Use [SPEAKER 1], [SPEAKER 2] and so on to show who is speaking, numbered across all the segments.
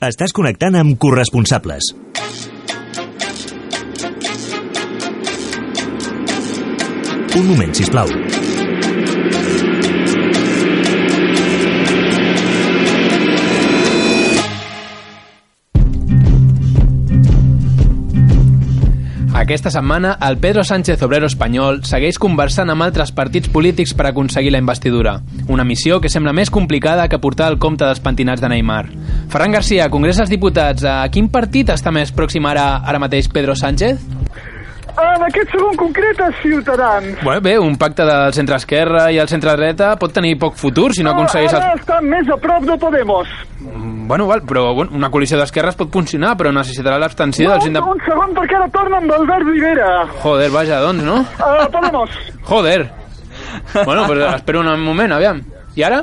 [SPEAKER 1] Estàs connectant amb corresponsables. Un moment, si plau.
[SPEAKER 2] Aquesta setmana, el Pedro Sánchez Obrero espanyol segueix conversant amb altres partits polítics per aconseguir la investidura. Una missió que sembla més complicada que portar el compte dels pentinats de Neymar. Ferran Garcia, Congrés dels Diputats, a quin partit està més pròxim ara, ara mateix Pedro Sánchez?
[SPEAKER 3] Ah, En aquest segon concret a Ciutadans.
[SPEAKER 2] Bé, bé, un pacte del centre-esquerra i el centre-dreta pot tenir poc futur si no aconsegueix...
[SPEAKER 3] Ara
[SPEAKER 2] El...
[SPEAKER 3] està més a prop de Podemos.
[SPEAKER 2] Mm, Bueno, val, però bueno, una coalició d'esquerres pot funcionar, però necessitarà l'abstenció dels...
[SPEAKER 3] un,
[SPEAKER 2] Indep...
[SPEAKER 3] un segon perquè ara torna amb Albert Rivera.
[SPEAKER 2] Joder, vaja, doncs, no?
[SPEAKER 3] Uh, Podemos.
[SPEAKER 2] Joder. Bueno, pues espero un moment, aviam. I ara?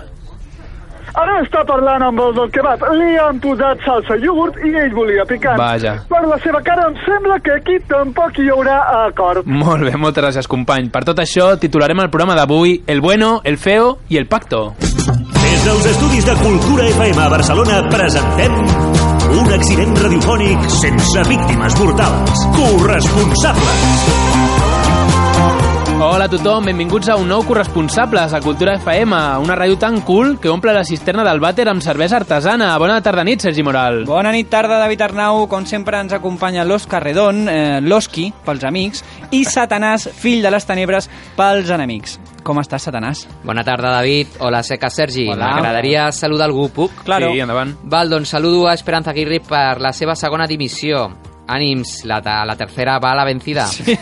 [SPEAKER 3] Ara està parlant amb el del kebab. Li han posat salsa i iogurt i ell volia picant.
[SPEAKER 2] Vaja.
[SPEAKER 3] Per la seva cara em sembla que aquí tampoc hi haurà acord.
[SPEAKER 2] Molt bé, moltes gràcies, company. Per tot això, titularem el programa d'avui El bueno, el feo i el pacto.
[SPEAKER 1] Des dels estudis de Cultura FM a Barcelona presentem un accident radiofònic sense víctimes mortals. Corresponsables.
[SPEAKER 2] Hola a tothom, benvinguts a un nou Corresponsables a Cultura FM, una ràdio tan cool que omple la cisterna del vàter amb cervesa artesana. Bona tarda nit, Sergi Moral.
[SPEAKER 4] Bona nit, tarda, David Arnau. Com sempre ens acompanya l'Òscar Redon, eh, l'Oski, pels amics, i Satanàs, fill de les tenebres, pels enemics. Com estàs, Satanàs?
[SPEAKER 5] Bona tarda, David. Hola, Seca, Sergi.
[SPEAKER 4] Hola.
[SPEAKER 5] M'agradaria saludar algú, puc?
[SPEAKER 4] Claro.
[SPEAKER 2] Sí, endavant.
[SPEAKER 5] Val, doncs saludo a Esperanza Aguirre per la seva segona dimissió. Ànims, la, ta- la tercera va a la vencida. Sí.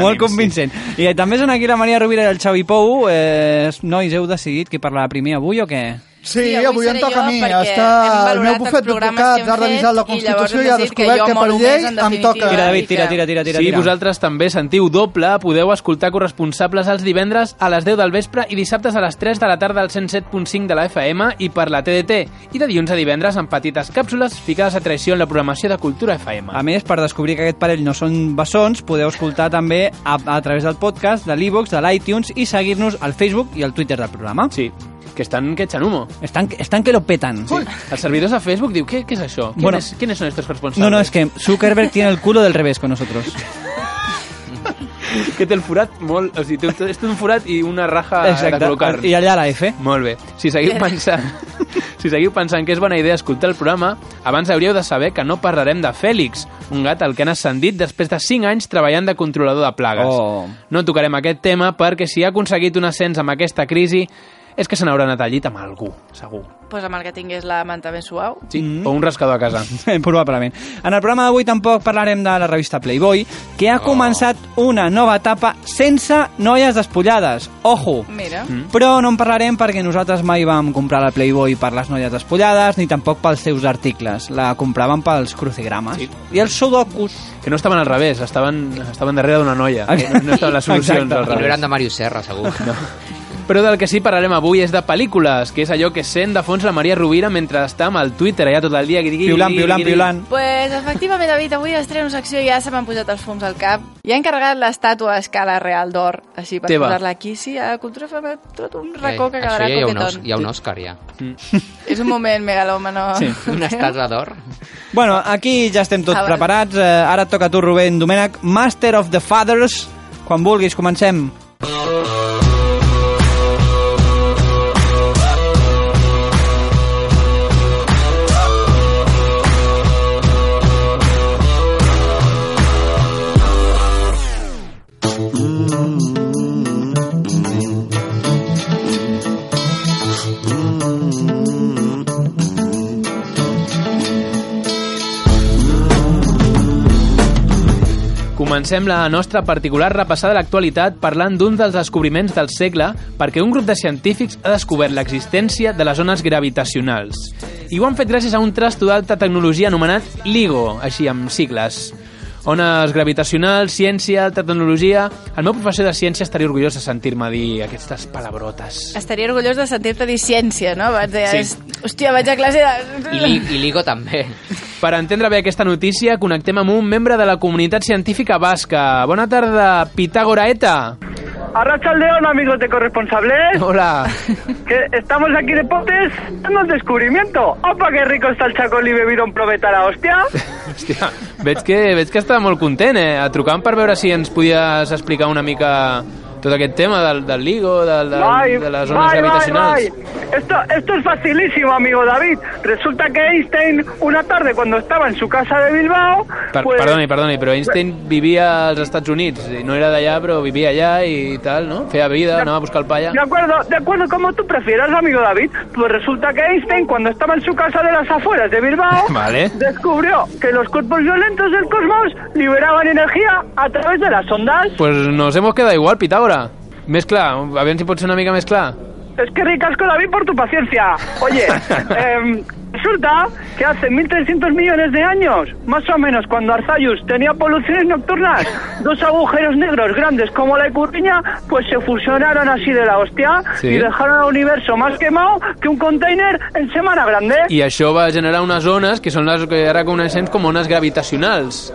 [SPEAKER 4] Molt convincent. I eh, també són aquí la Maria Rovira i el Xavi Pou. Eh, nois, heu decidit qui parlarà primer avui o què?
[SPEAKER 6] Sí, avui, avui em toca a mi. Està el meu bufet d'advocats ha revisat la Constitució i ha descobert que, per llei em toca...
[SPEAKER 4] Tira, David, tira, tira, tira. tira
[SPEAKER 2] si
[SPEAKER 4] tira.
[SPEAKER 2] vosaltres també sentiu doble, podeu escoltar corresponsables els divendres a les 10 del vespre i dissabtes a les 3 de la tarda al 107.5 de la FM i per la TDT, i de dilluns a divendres en petites càpsules ficades a traïció en la programació de Cultura FM.
[SPEAKER 4] A més, per descobrir que aquest parell no són bessons, podeu escoltar també a, a través del podcast, de l'e-box, de l'iTunes i seguir-nos al Facebook i al Twitter del programa.
[SPEAKER 2] Sí, que estan que echan humo.
[SPEAKER 4] Estan, estan que lo petan.
[SPEAKER 2] Sí. Els servidors de Facebook diu, què, què és això? ¿Quién
[SPEAKER 4] Bueno.
[SPEAKER 2] es- ¿Quiénes son estos responsables?
[SPEAKER 4] No, no, es que Zuckerberg tiene el culo del revés con nosotros.
[SPEAKER 2] Que té el forat molt... O sigui, té, un- és un forat i una raja de Ah, col·locar.
[SPEAKER 4] I allà la F.
[SPEAKER 2] Molt bé. Si seguiu pensant, si seguiu pensant que és bona idea escoltar el programa, abans hauríeu de saber que no parlarem de Fèlix, un gat al que han ascendit després de 5 anys treballant de controlador de plagues.
[SPEAKER 4] Oh.
[SPEAKER 2] No tocarem aquest tema perquè si ha aconseguit un ascens amb aquesta crisi és que se n'haurà anat al llit amb algú, segur.
[SPEAKER 7] Pues amb el que tingués la manta ben suau.
[SPEAKER 2] Sí? Mm. O un rascador a casa.
[SPEAKER 4] Probablement. En el programa d'avui tampoc parlarem de la revista Playboy, que ha
[SPEAKER 2] Oh.
[SPEAKER 4] començat una nova etapa sense noies despullades. Ojo!
[SPEAKER 7] Mira.
[SPEAKER 2] Mm.
[SPEAKER 4] Però no en parlarem perquè nosaltres mai vam comprar la Playboy per les noies despullades ni tampoc pels seus articles. La compraven pels crucigrames.
[SPEAKER 2] Sí.
[SPEAKER 4] I els sudokus.
[SPEAKER 2] Que no estaven al revés, estaven, estaven darrere d'una noia. No, no estaven les solucions
[SPEAKER 4] Exacte.
[SPEAKER 2] al
[SPEAKER 5] I no
[SPEAKER 2] revés.
[SPEAKER 5] eren de Màrius Serra, segur. No.
[SPEAKER 2] Però del que sí parlarem avui és de pel·lícules, que és allò que sent de fons la Maria Rovira mentre està amb el Twitter allà tot el dia. guiri, guiri,
[SPEAKER 4] Piulant, piulant,
[SPEAKER 2] guiri.
[SPEAKER 4] piulant.
[SPEAKER 7] Pues efectivament, David, avui estreno secció i ja se m'han posat els fums al cap. I han carregat l'estàtua a escala real d'or, així per
[SPEAKER 2] Teva.
[SPEAKER 7] posar-la aquí. Sí, a Cultura FM, tot un racó que
[SPEAKER 5] Això
[SPEAKER 7] quedarà
[SPEAKER 5] ja hi ha, un, os,
[SPEAKER 7] coqueton.
[SPEAKER 5] hi ha un Òscar, ja.
[SPEAKER 2] Mm.
[SPEAKER 7] És un moment megalòmano.
[SPEAKER 2] Sí.
[SPEAKER 5] Una estàtua d'or.
[SPEAKER 4] Bueno, aquí ja estem tots
[SPEAKER 7] Ah, val.
[SPEAKER 4] preparats. Eh, ara et toca a tu, Rubén Domènech, Master of the Fathers. Quan vulguis, comencem.
[SPEAKER 2] Comencem la nostra particular repassada de l'actualitat parlant d'un dels descobriments del segle perquè un grup de científics ha descobert l'existència de les zones gravitacionals. I ho han fet gràcies a un trasto d'alta tecnologia anomenat LIGO, així amb sigles. Ones gravitacionals, ciència, alta tecnologia... El meu professor de ciència estaria orgullós de sentir-me dir aquestes palabrotes.
[SPEAKER 7] Estaria orgullós de sentir-te dir ciència, no? Abans deies,
[SPEAKER 2] Sí.
[SPEAKER 7] hòstia, vaig a classe de...
[SPEAKER 5] I, li, I Ligo també.
[SPEAKER 2] Per entendre bé aquesta notícia, connectem amb un membre de la comunitat científica basca. Bona tarda, Pitàgora Eta.
[SPEAKER 3] Arrachaldeón, amigos de corresponsables,
[SPEAKER 2] Hola.
[SPEAKER 3] que estamos aquí de popes dando el descubrimiento. ¡Opa, qué rico está el chacolí bebido en probeta la hostia!
[SPEAKER 2] Hòstia, veig que, veig que estava molt content, eh? Et trucàvem per veure si ens podies explicar una mica tot aquest tema del, del LIGO, del, del,
[SPEAKER 3] Bye,
[SPEAKER 2] de les zones
[SPEAKER 3] bye,
[SPEAKER 2] gravitacionals.
[SPEAKER 3] bye, bye. Esto, esto es facilísimo, amigo David. Resulta que Einstein, una tarde cuando estaba en su casa de Bilbao,
[SPEAKER 2] Per,
[SPEAKER 3] pues,
[SPEAKER 2] Perdoni, perdoni, però Einstein vivia als Estats Units, i no era d'allà, però vivia allà i tal, no? Feia vida, anava a buscar el pa allà.
[SPEAKER 3] De acuerdo, de acuerdo, como tú prefieras, amigo David. Pues resulta que Einstein, cuando estaba en su casa de las afueras de Bilbao,
[SPEAKER 2] Vale.
[SPEAKER 3] descubrió que los cuerpos violentos del cosmos liberaban energía a través de las ondas.
[SPEAKER 2] Pues nos hemos quedado igual, Pitàgora. Més clar, a veure si pot ser una mica més clar.
[SPEAKER 3] Es que ricasco, David, por tu paciencia. Oye, em, resulta que hace 1.300 millones de años, más o menos cuando Arzayus tenía poluciones nocturnas, dos agujeros negros grandes como la Icurriña, pues se fusionaron así de la hostia
[SPEAKER 2] Sí.
[SPEAKER 3] y dejaron al universo más quemado que un container en Semana Grande.
[SPEAKER 2] I això va generar unes ones que són les que ara coneixem com ones gravitacionals.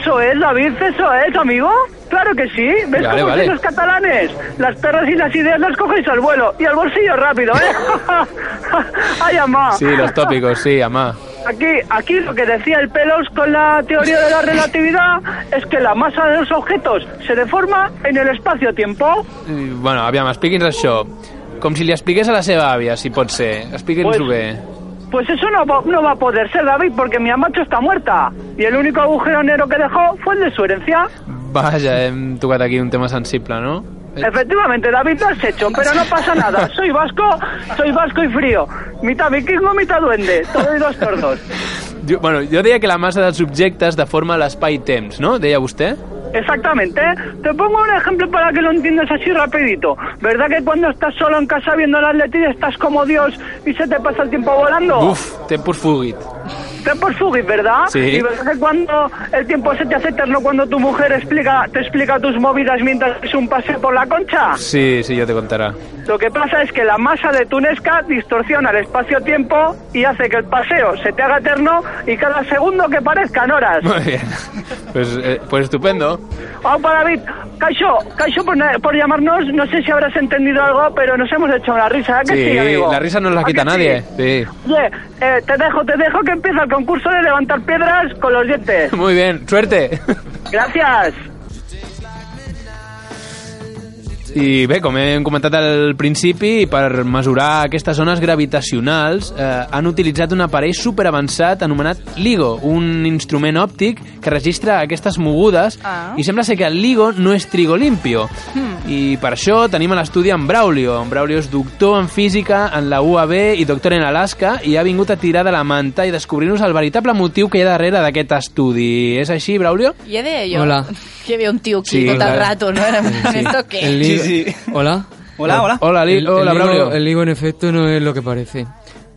[SPEAKER 3] Eso es, David, eso es, amigo. Claro que sí. ¿Ves
[SPEAKER 2] Vale,
[SPEAKER 3] cómo
[SPEAKER 2] vale.
[SPEAKER 3] son los catalanes? Las perras y las ideas las cogéis al vuelo y al bolsillo rápido, ¿eh? ¡Ay, amá!
[SPEAKER 2] Sí, los tópicos, sí, amà.
[SPEAKER 3] Aquí, aquí lo que decía el Pelos con la teoría de la relatividad es que la masa de los objetos se deforma en el espacio-tiempo.
[SPEAKER 2] Eh, Bueno, aviam, expliqui'ns això. Com si li expliqués a la seva àvia, si pot ser. Expliqui'ns-ho
[SPEAKER 3] Pues-
[SPEAKER 2] bé.
[SPEAKER 3] Pues eso no, va- no va a poder ser, David, porque mi amacho está muerta. Y el único agujero negro que dejó fue el de su herencia.
[SPEAKER 2] Vaja, hem tocat aquí un tema sensible, no? Eh,
[SPEAKER 3] Efectivamente, David, lo has hecho, pero no pasa nada. Soy vasco, soy vasco y frío. Mitad vikingo, mitad duende. Todos dos tordos.
[SPEAKER 2] Jo, bueno, jo deia que la massa dels objectes deforma l'espai-temps, no? Deia vostè?
[SPEAKER 3] Exactamente. ¿eh? Te pongo un ejemplo para que lo entiendas así rapidito. ¿Verdad que cuando estás solo en casa viendo las letras estás como Dios y se te pasa el tiempo volando?
[SPEAKER 2] Uf, tempus fugit.
[SPEAKER 3] Te por fugir, ¿verdad?
[SPEAKER 2] Sí.
[SPEAKER 3] Y verdad que cuando el tiempo se te hace eterno cuando tu mujer explica, te explica tus movidas mientras es un paseo por la concha.
[SPEAKER 2] Sí, sí, ja te contarà.
[SPEAKER 3] Lo que pasa es que la masa de Tunesca distorsiona el espacio-tiempo y hace que el paseo se te haga eterno y cada segundo que parezcan horas.
[SPEAKER 2] Muy bien. Pues, eh, pues estupendo.
[SPEAKER 3] Opa, David. Caixo, Caixo por, por llamarnos. No sé si habrás entendido algo, pero nos hemos hecho una risa. ¿eh? que sí, amigo?
[SPEAKER 2] la risa no la
[SPEAKER 3] ¿A
[SPEAKER 2] quita
[SPEAKER 3] que sí?
[SPEAKER 2] nadie. Sí.
[SPEAKER 3] Oye, eh, te dejo, te dejo que empieza el concurso de levantar piedras con los dientes.
[SPEAKER 2] Muy bien, suerte.
[SPEAKER 3] Gracias.
[SPEAKER 2] I bé, com hem comentat al principi, per mesurar aquestes zones gravitacionals eh, han utilitzat un aparell superavançat anomenat LIGO, un instrument òptic que registra aquestes mogudes
[SPEAKER 7] Ah.
[SPEAKER 2] i sembla ser que el LIGO no és trigo limpio. I per això tenim a l'estudi en Braulio. En Braulio és doctor en física en la UAB i doctor en Alaska i ha vingut a tirar de la manta i descobrir-nos el veritable motiu que hi ha darrere d'aquest estudi. És així, Braulio?
[SPEAKER 7] Ya de yo.
[SPEAKER 5] Hola.
[SPEAKER 7] Que había un tío aquí
[SPEAKER 2] Sí,
[SPEAKER 7] todo el
[SPEAKER 2] claro.
[SPEAKER 7] rato, ¿no? Era ¿Esto qué?
[SPEAKER 8] El Ligo-
[SPEAKER 4] Sí, sí.
[SPEAKER 8] Hola.
[SPEAKER 4] Hola, hola.
[SPEAKER 2] Hola, Li-
[SPEAKER 8] El-
[SPEAKER 2] hola
[SPEAKER 8] el Ligo-
[SPEAKER 2] Braulio.
[SPEAKER 8] El Ligo, en efecto, no es lo que parece.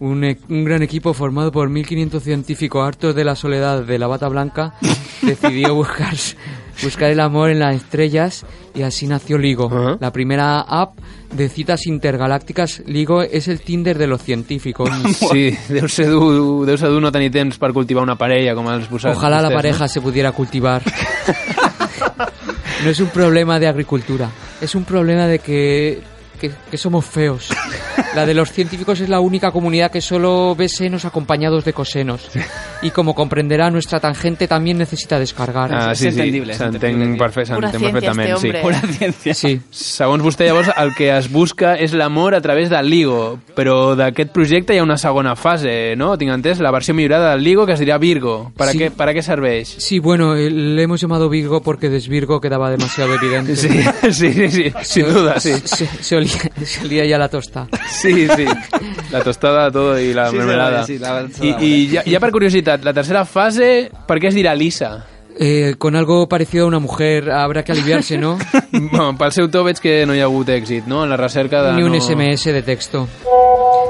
[SPEAKER 8] Un, e- un gran equipo formado por 1.500 científicos hartos de la soledad de la bata blanca decidió buscar, buscar el amor en las estrellas y así nació Ligo.
[SPEAKER 2] Ajá.
[SPEAKER 8] La primera app de citas intergalácticas, Ligo es el Tinder de los científicos.
[SPEAKER 2] Mm, Sí, deu ser, dur, deu ser dur no tenir temps per cultivar una parella com els vosaltres.
[SPEAKER 8] Ojalá la
[SPEAKER 2] vostès,
[SPEAKER 8] pareja se pudiera cultivar. No es un problema de agricultura, es un problema de que, que, que somos feos. La de los científicos es la única comunidad que solo ve senos acompañados de cosenos. Y como comprenderá, nuestra tangente también necesita
[SPEAKER 2] No?
[SPEAKER 8] descargar.
[SPEAKER 2] Ah, sí,
[SPEAKER 4] És entendible,
[SPEAKER 2] sí,
[SPEAKER 4] és
[SPEAKER 2] s'entén
[SPEAKER 4] entendible.
[SPEAKER 2] perfe
[SPEAKER 7] Pura
[SPEAKER 2] s'entén
[SPEAKER 7] ciencia
[SPEAKER 2] perfectament,
[SPEAKER 7] este hombre. eh?
[SPEAKER 4] Pura ciencia.
[SPEAKER 8] Sí.
[SPEAKER 2] sí. Segons vostè, llavors, el que es busca és l'amor a través del LIGO, però d'aquest projecte hi ha una segona fase, no? Tinc entès? La versió millorada del LIGO que es dirà Virgo. Per a,
[SPEAKER 8] Sí.
[SPEAKER 2] què, per a què serveix?
[SPEAKER 8] Sí, bueno, eh, le hemos llamado Virgo porque desvirgo quedaba demasiado evidente.
[SPEAKER 2] Sí, sí, sí, sí, sin duda, sí.
[SPEAKER 8] Se, se olía, se olía ya la tosta.
[SPEAKER 2] Sí, sí. La tostada, todo i la
[SPEAKER 4] Sí, sí,
[SPEAKER 2] mermelada.
[SPEAKER 4] sí, la-
[SPEAKER 2] I, i ja, ja per curiositat, la tercera fase, per què es dirà Lisa?
[SPEAKER 8] Eh, con algo parecido a una mujer habrà que aliviarse, no?
[SPEAKER 2] Bueno, pel seu to veig que no hi ha hagut èxit, no? En la recerca de...
[SPEAKER 8] Ni un
[SPEAKER 2] no...
[SPEAKER 8] SMS de texto.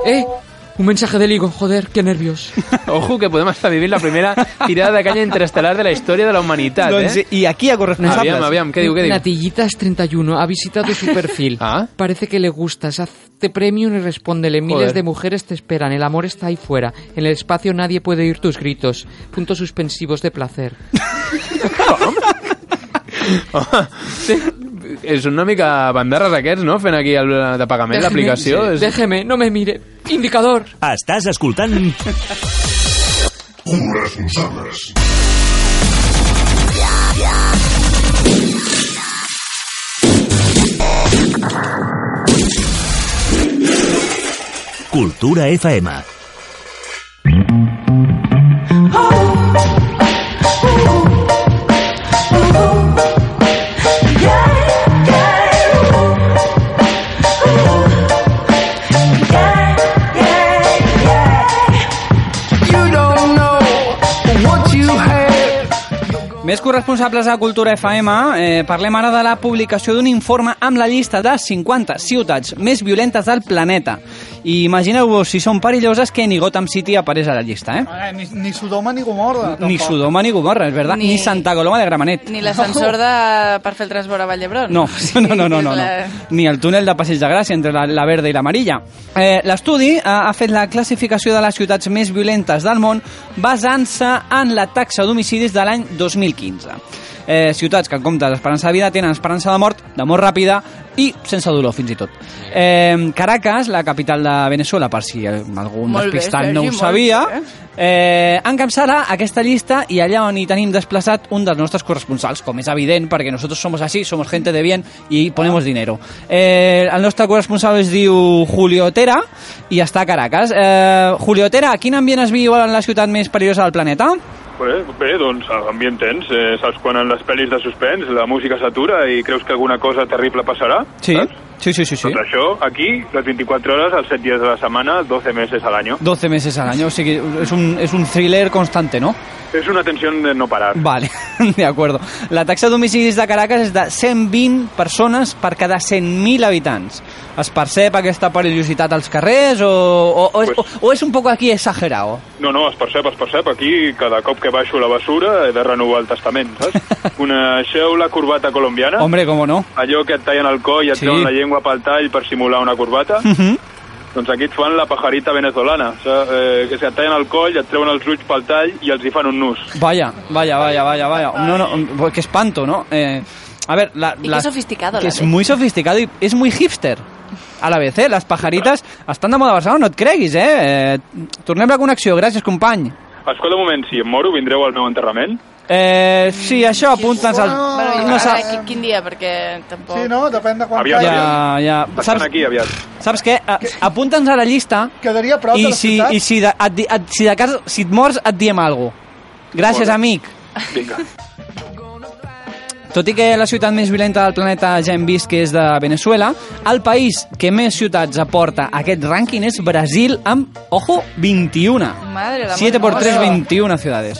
[SPEAKER 8] ¡Eh! Un mensaje del higo, joder, qué nervios.
[SPEAKER 2] Ojo que podem estar vivint la primera tirada de canya interestel·lar de la història de la humanitat,
[SPEAKER 4] Doncs,
[SPEAKER 2] eh?
[SPEAKER 4] I aquí a corresponsables.
[SPEAKER 2] Aviam, aviam, què diu, què diu?
[SPEAKER 8] Natillitas31 ha visitado su perfil.
[SPEAKER 2] Ah.
[SPEAKER 8] Parece que le gustas. Hazte premium y respóndele. Miles
[SPEAKER 2] Joder.
[SPEAKER 8] de mujeres te esperan. El amor está ahí fuera. En el espacio nadie puede oír tus gritos. Puntos suspensivos de placer.
[SPEAKER 2] Sí. És una mica bandarres aquests, no? Fent aquí el de pagament,
[SPEAKER 8] Déjeme,
[SPEAKER 2] l'aplicació.
[SPEAKER 8] sí.
[SPEAKER 2] És...
[SPEAKER 8] Déjeme, no me mire. Indicador.
[SPEAKER 1] Estàs escoltant
[SPEAKER 9] Corresponsables.
[SPEAKER 1] Cultura FM.
[SPEAKER 4] Més corresponsables a Cultura FM, eh, parlem ara de la publicació d'un informe amb la llista de 50 ciutats més violentes del planeta. I imagineu-vos si són perilloses que ni Gotham City apareix a la llista, eh?
[SPEAKER 6] Ah, Ni, ni Sodoma ni Gomorra.
[SPEAKER 4] Ni
[SPEAKER 6] tampoc.
[SPEAKER 4] Sodoma ni Gomorra, és veritat, ni...
[SPEAKER 7] Ni-
[SPEAKER 4] ni Santa Coloma de Gramenet.
[SPEAKER 7] Ni l'ascensor de... per fer el transbord a Vall d'Hebron.
[SPEAKER 4] No,
[SPEAKER 7] O sigui,
[SPEAKER 4] no, no, no, no, no.
[SPEAKER 7] la-
[SPEAKER 4] Ni el túnel de Passeig de Gràcia entre la, la verda i l'amarilla. Eh, L'estudi ha, ha fet la classificació de les ciutats més violentes del món basant-se en la taxa d'homicidis de l'any 2015. Eh, ciutats que en comptes d'esperança de vida tenen esperança de mort, de mort ràpida i sense dolor, fins i tot. Eh, Caracas, la capital de Venezuela, per si algun
[SPEAKER 7] Molt bé,
[SPEAKER 4] despistat no ho
[SPEAKER 7] Sergi, molt
[SPEAKER 4] sabia,
[SPEAKER 7] bé, eh?
[SPEAKER 4] Eh, encapçala aquesta llista i allà on hi tenim desplaçat un dels nostres corresponsals, com és evident, perquè nosaltres somos així, somos gente de bien i ponemos dinero. Eh, el nostre corresponsal es diu Julio Tera i està a Caracas. Eh, Julio Tera, quin ambient es viu a la ciutat més perillosa del planeta?
[SPEAKER 10] Bé, bé, doncs ambient tens. Eh, saps quan en les pel·lis de suspens la música s'atura i creus que alguna cosa terrible passarà?
[SPEAKER 4] Sí,
[SPEAKER 10] Saps?
[SPEAKER 4] sí, sí, sí. sí.
[SPEAKER 10] Doncs això, aquí, les 24 hores, els 7 dies de la setmana, 12 meses al año.
[SPEAKER 4] 12 meses al año, o sigui, és un, és un thriller constante, no?
[SPEAKER 10] Es una tensión de no parar.
[SPEAKER 4] Vale, de acuerdo. La taxa d'homicidis de Caracas és de 120 persones per cada 100.000 habitants. Es percep aquesta perillositat als carrers o, o, o, és,
[SPEAKER 10] Pues-
[SPEAKER 4] o, o és un poco aquí exagerado?
[SPEAKER 10] No, no, es percep, es percep. Aquí, cada cop que baixo la basura, he de renovar el testament, saps? Una xeula corbata colombiana,
[SPEAKER 4] Hombre, com no?
[SPEAKER 10] allò que et tallen el coll i et
[SPEAKER 4] Sí.
[SPEAKER 10] treuen la llengua pel tall per simular una corbata. Doncs aquí et fan la pajarita venezolana, o sigui, eh, que et tallen el coll, et treuen els ulls pel tall i els hi fan un nus.
[SPEAKER 4] Vaya, vaya, vaya, vaya, vaya. No, no, qué espanto, ¿no? Eh, a ver, la,
[SPEAKER 7] Y qué
[SPEAKER 4] la-
[SPEAKER 7] sofisticado,
[SPEAKER 4] Que
[SPEAKER 7] la
[SPEAKER 4] es
[SPEAKER 7] de-
[SPEAKER 4] muy sofisticado y es muy hipster. A la vez, eh? Les pajaritas estan de moda a Barcelona, no et creguis, eh? eh tornem la connexió, gràcies, company.
[SPEAKER 10] Escolta un moment, si em moro vindreu al meu enterrament?
[SPEAKER 4] Eh, sí, això, apunta'ns al...
[SPEAKER 7] Bueno, i
[SPEAKER 4] no
[SPEAKER 7] ara,
[SPEAKER 4] saps-
[SPEAKER 7] qui- quin dia, perquè tampoc...
[SPEAKER 6] Sí, no? Depèn de quan
[SPEAKER 10] Aviam,
[SPEAKER 6] caigui.
[SPEAKER 10] aviam.
[SPEAKER 4] Ja, ja.
[SPEAKER 10] Estan
[SPEAKER 4] Saps,
[SPEAKER 10] aquí aviat.
[SPEAKER 4] saps què? A- Apunta'ns a la llista
[SPEAKER 6] Quedaria prop de
[SPEAKER 4] i
[SPEAKER 6] la
[SPEAKER 4] si,
[SPEAKER 6] ciutat.
[SPEAKER 4] i si, de, et, di- et, si de cas, si et mors et diem alguna cosa. Gràcies,
[SPEAKER 10] Molt bé.
[SPEAKER 4] amic.
[SPEAKER 10] Vinga.
[SPEAKER 4] Tot i que la ciutat més violenta del planeta ja hem vist que és de Venezuela, el país que més ciutats aporta a aquest rànquing és Brasil amb, ojo, 21.
[SPEAKER 7] Madre la
[SPEAKER 4] 7 por
[SPEAKER 7] madre.
[SPEAKER 4] 3, 21 ciudades.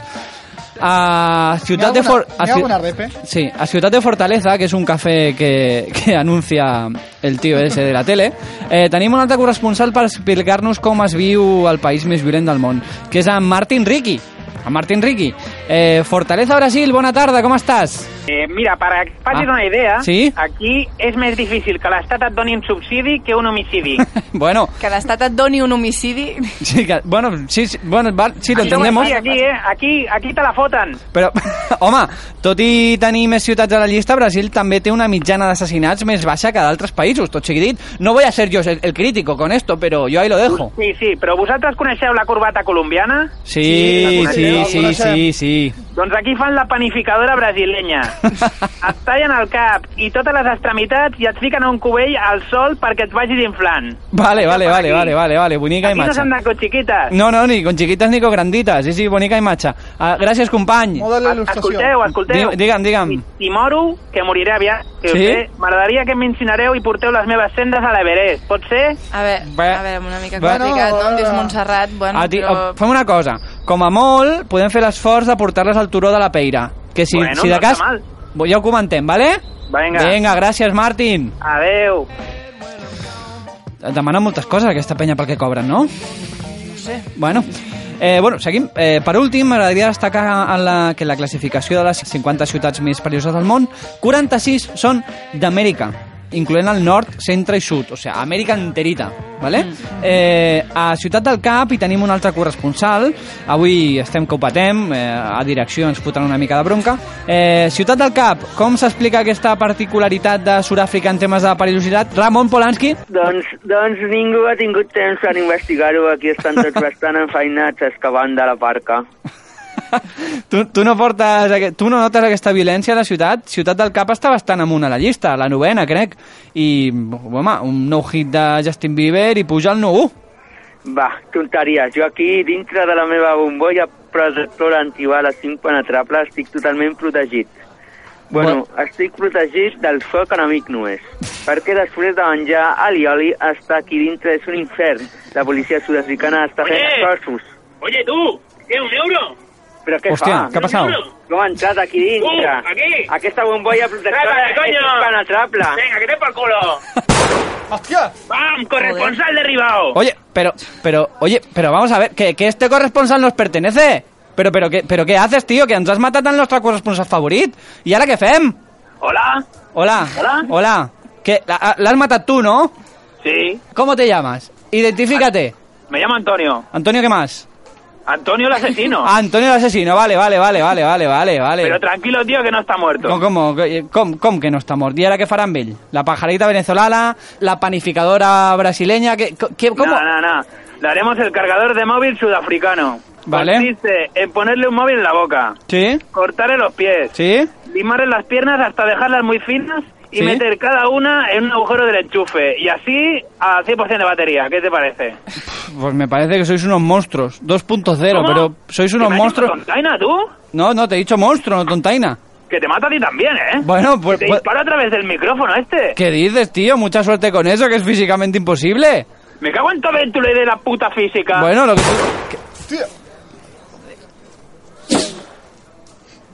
[SPEAKER 4] A Ciutat de Fort...
[SPEAKER 6] ¿Ni alguna eh. repe?
[SPEAKER 4] Sí, a Ciudad de Fortaleza, que es un café que, que anuncia el tío ese de la tele, eh, tenim un altre corresponsal per explicar-nos com es viu el país més violent del món, que és en Martín Riqui. En Martín Riqui. Eh, Fortaleza, Brasil, bona tarda, com estàs?
[SPEAKER 3] Eh, mira, para que facis
[SPEAKER 4] Ah.
[SPEAKER 3] una idea,
[SPEAKER 4] Sí?
[SPEAKER 3] aquí és més difícil que l'Estat et doni un subsidi que un homicidi.
[SPEAKER 4] Bueno,
[SPEAKER 7] Que l'Estat et doni un homicidi...
[SPEAKER 4] sí, que, bueno, sí, sí, bueno, va, sí, lo
[SPEAKER 3] Això ho
[SPEAKER 4] entendemos.
[SPEAKER 3] vull dir Aquí, eh? aquí, aquí te la foten.
[SPEAKER 4] Però, home, tot i tenir més ciutats a la llista, Brasil també té una mitjana d'assassinats més baixa que d'altres països, tot sigui dit. No voy a ser yo el, el crítico con esto, pero yo ahí lo dejo.
[SPEAKER 3] Sí, sí, però vosaltres coneixeu la corbata colombiana?
[SPEAKER 4] Sí, sí, sí, sí, sí.
[SPEAKER 3] Doncs aquí fan la panificadora brasilenya. et tallen el cap i totes les extremitats i et fiquen a un cubell al sol perquè et vagis inflant.
[SPEAKER 4] Vale, vale, vale, vale, vale, vale, bonica
[SPEAKER 3] Aquí no
[SPEAKER 4] imatge.
[SPEAKER 3] s'han de cochiquitas.
[SPEAKER 4] No, no, ni con chiquitas ni con granditas. Sí, sí, bonica imatge. Ah, gràcies, company.
[SPEAKER 6] Moda de la
[SPEAKER 3] Escolteu,
[SPEAKER 6] il·lustració.
[SPEAKER 3] escolteu.
[SPEAKER 4] Di- digue'm, digue'm.
[SPEAKER 3] Si, si moro, que moriré aviat. Que
[SPEAKER 4] Sí?
[SPEAKER 3] sí? M'agradaria
[SPEAKER 11] em
[SPEAKER 3] que m'incinareu i porteu les meves sendes a l'Everest. Pot ser?
[SPEAKER 7] A veure,
[SPEAKER 4] Va-
[SPEAKER 7] a veure, una mica
[SPEAKER 4] va-
[SPEAKER 7] complicat, no? Em dius
[SPEAKER 6] no, no.
[SPEAKER 7] Montserrat, bueno,
[SPEAKER 4] A ti,
[SPEAKER 7] però...
[SPEAKER 4] oh, Fem una cosa. Com a molt, podem fer l'esforç de portar-les al turó de la Peira, que Que si,
[SPEAKER 3] Bueno,
[SPEAKER 4] si de
[SPEAKER 3] no
[SPEAKER 4] cas...
[SPEAKER 3] està mal.
[SPEAKER 4] bo- Ja ho comentem, ¿vale?
[SPEAKER 3] Vinga.
[SPEAKER 4] Vinga, gràcies, Martín.
[SPEAKER 3] Adeu.
[SPEAKER 4] Demanen moltes coses aquesta penya pel que cobren, no?
[SPEAKER 7] No sé.
[SPEAKER 4] Bueno, eh, bueno seguim. Eh, per últim, m'agradaria destacar en la, que en la classificació de les 50 ciutats més perilloses del món, 46 són d'Amèrica, incloent el nord, centre i sud, o sigui, Amèrica enterita. Vale?
[SPEAKER 7] Mm.
[SPEAKER 4] Eh, a Ciutat del Cap hi tenim un altre corresponsal, avui estem que ho patem, eh, a direcció ens fotran una mica de bronca. Eh, Ciutat del Cap, com s'explica aquesta particularitat de Sud-àfrica en temes de perillositat? Ramon Polanski?
[SPEAKER 9] Doncs, doncs ningú ha tingut temps per investigar-ho. Aquí estan tots bastant enfeinats excavant de la parca.
[SPEAKER 4] Tu, tu, no portes, aquest- tu no notes aquesta violència a la ciutat? Ciutat del Cap està bastant amunt a la llista, la novena, crec. I, home, un nou hit de Justin Bieber i puja al 9
[SPEAKER 9] Va, tonteries. Jo aquí, dintre de la meva bombolla protectora antibales impenetrable, estic totalment protegit. Bueno, estic protegit del foc enemic només. Perquè després de menjar alioli, estar aquí dintre és un infern. La policia sud-africana està fent
[SPEAKER 11] Oye!
[SPEAKER 9] esforços.
[SPEAKER 11] Oye, tú, ¿qué, un euro?
[SPEAKER 9] Però què
[SPEAKER 4] Hòstia,
[SPEAKER 9] fa?
[SPEAKER 4] què ha passat?
[SPEAKER 9] Com ha entrat aquí dintre?
[SPEAKER 11] Uh, aquí!
[SPEAKER 9] Aquesta bombolla protectora
[SPEAKER 11] Trápala,
[SPEAKER 9] és
[SPEAKER 11] coño!
[SPEAKER 9] impenetrable.
[SPEAKER 11] Venga, que te por culo.
[SPEAKER 4] ¡Hostia!
[SPEAKER 11] ¡Vamos, corresponsal derribado!
[SPEAKER 4] Oye, pero, pero, oye, pero vamos a ver, que, que este corresponsal nos pertenece. Pero, pero, ¿qué, pero què haces, tío? Que ens has matat al nostre corresponsal favorit. I ara què fem?
[SPEAKER 11] Hola.
[SPEAKER 4] Hola.
[SPEAKER 11] Hola.
[SPEAKER 4] Hola. Que la- l'has matat tu, no?
[SPEAKER 11] Sí,
[SPEAKER 4] ¿Cómo te llamas? Identifícate.
[SPEAKER 11] me llamo Antonio.
[SPEAKER 4] Antonio, ¿qué más?
[SPEAKER 11] Antonio el asesino.
[SPEAKER 4] Ah, Antonio el asesino, vale, vale, vale, vale, vale, vale, vale.
[SPEAKER 11] Pero tranquilo, tío, que no está muerto.
[SPEAKER 4] Com, com, com, com que no està mort? I ara què faran amb ell? La pajarita venezolana, la panificadora brasileña, que, que, com...
[SPEAKER 11] No, no, no. Le haremos el cargador de móvil sudafricano.
[SPEAKER 4] Vale.
[SPEAKER 11] Consiste en ponerle un móvil en la boca,
[SPEAKER 4] Sí,
[SPEAKER 11] cortarle los pies,
[SPEAKER 4] sí.
[SPEAKER 11] limarle las piernas hasta dejarlas muy finas y
[SPEAKER 4] Sí.
[SPEAKER 11] meter cada una en un agujero del enchufe. Y así a 100% de batería. ¿Qué te parece?
[SPEAKER 4] Pues me parece que sois unos monstruos. 2.0,
[SPEAKER 11] ¿Cómo?
[SPEAKER 4] pero sois unos
[SPEAKER 11] ¿Que me has dicho
[SPEAKER 4] monstruos.
[SPEAKER 11] tontaina, tú?
[SPEAKER 4] No, no, te he dicho monstruo, no tontaina.
[SPEAKER 11] Que te mata a ti también, ¿eh?
[SPEAKER 4] Bueno, pues-
[SPEAKER 11] Te
[SPEAKER 4] pues-
[SPEAKER 11] disparo a través del micrófono este.
[SPEAKER 4] ¿Qué dices, tío? Mucha suerte con eso, que es físicamente imposible.
[SPEAKER 11] Me cago en todo el tule de la puta física.
[SPEAKER 4] Bueno, lo que tú...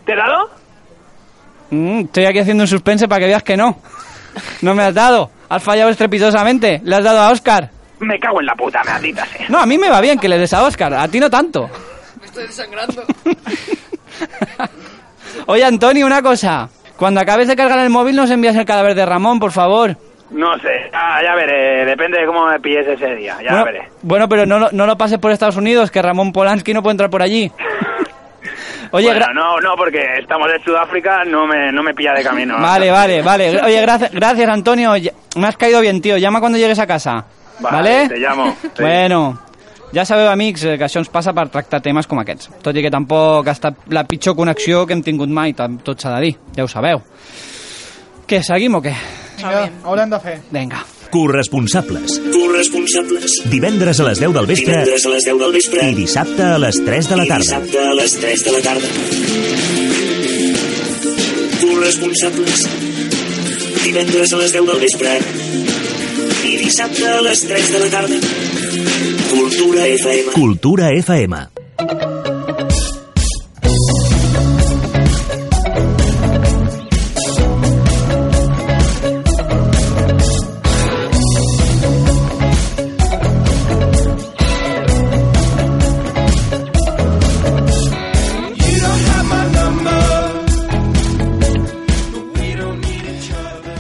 [SPEAKER 11] ¿Te he dado?
[SPEAKER 4] Mm, estoy aquí haciendo un suspense para que veas que no. No me has dado. Has fallado estrepitosamente. Le has dado a Oscar.
[SPEAKER 11] Me cago en la puta, me maldita sea.
[SPEAKER 4] No, a mí me va bien que le des a Oscar. A ti no tanto.
[SPEAKER 7] Me estoy desangrando.
[SPEAKER 4] Oye, Antonio, una cosa. Cuando acabes de cargar el móvil, nos envías el cadáver de Ramón, por favor.
[SPEAKER 11] No sé, ya, ya veré. Depende de cómo me pilles ese día. Ya
[SPEAKER 4] bueno,
[SPEAKER 11] veré.
[SPEAKER 4] bueno, pero no, lo- no lo pases por Estados Unidos, que Ramón Polanski no puede entrar por allí. Oye,
[SPEAKER 11] Bueno,
[SPEAKER 4] gra-
[SPEAKER 11] no, no, porque estamos en Sudáfrica, no me, no me pilla de camino.
[SPEAKER 4] vale, vale, vale. Gra- Oye, gracias, gracias, Antonio. Ya- Me has caído bien, tío. Llama cuando llegues a casa. ¿Vale?
[SPEAKER 11] Te llamo. Sí.
[SPEAKER 4] Bueno, ja sabeu, amics, eh, que això ens passa per tractar temes com aquests. Tot i que tampoc ha estat la pitjor connexió que hem tingut mai, tam- tot s'ha de dir, ja ho sabeu. Què, seguim o què?
[SPEAKER 6] Vinga, haurem de fer.
[SPEAKER 4] Vinga.
[SPEAKER 1] Corresponsables. Corresponsables. Divendres a les 10 del vespre. Divendres a les 10 del vespre. I dissabte a les 3 de la tarda. dissabte a les 3 de la tarda. Corresponsables. Divendres a les 10 del vespre. I dissabte a les 3 de la tarda. Cultura FM. Cultura FM.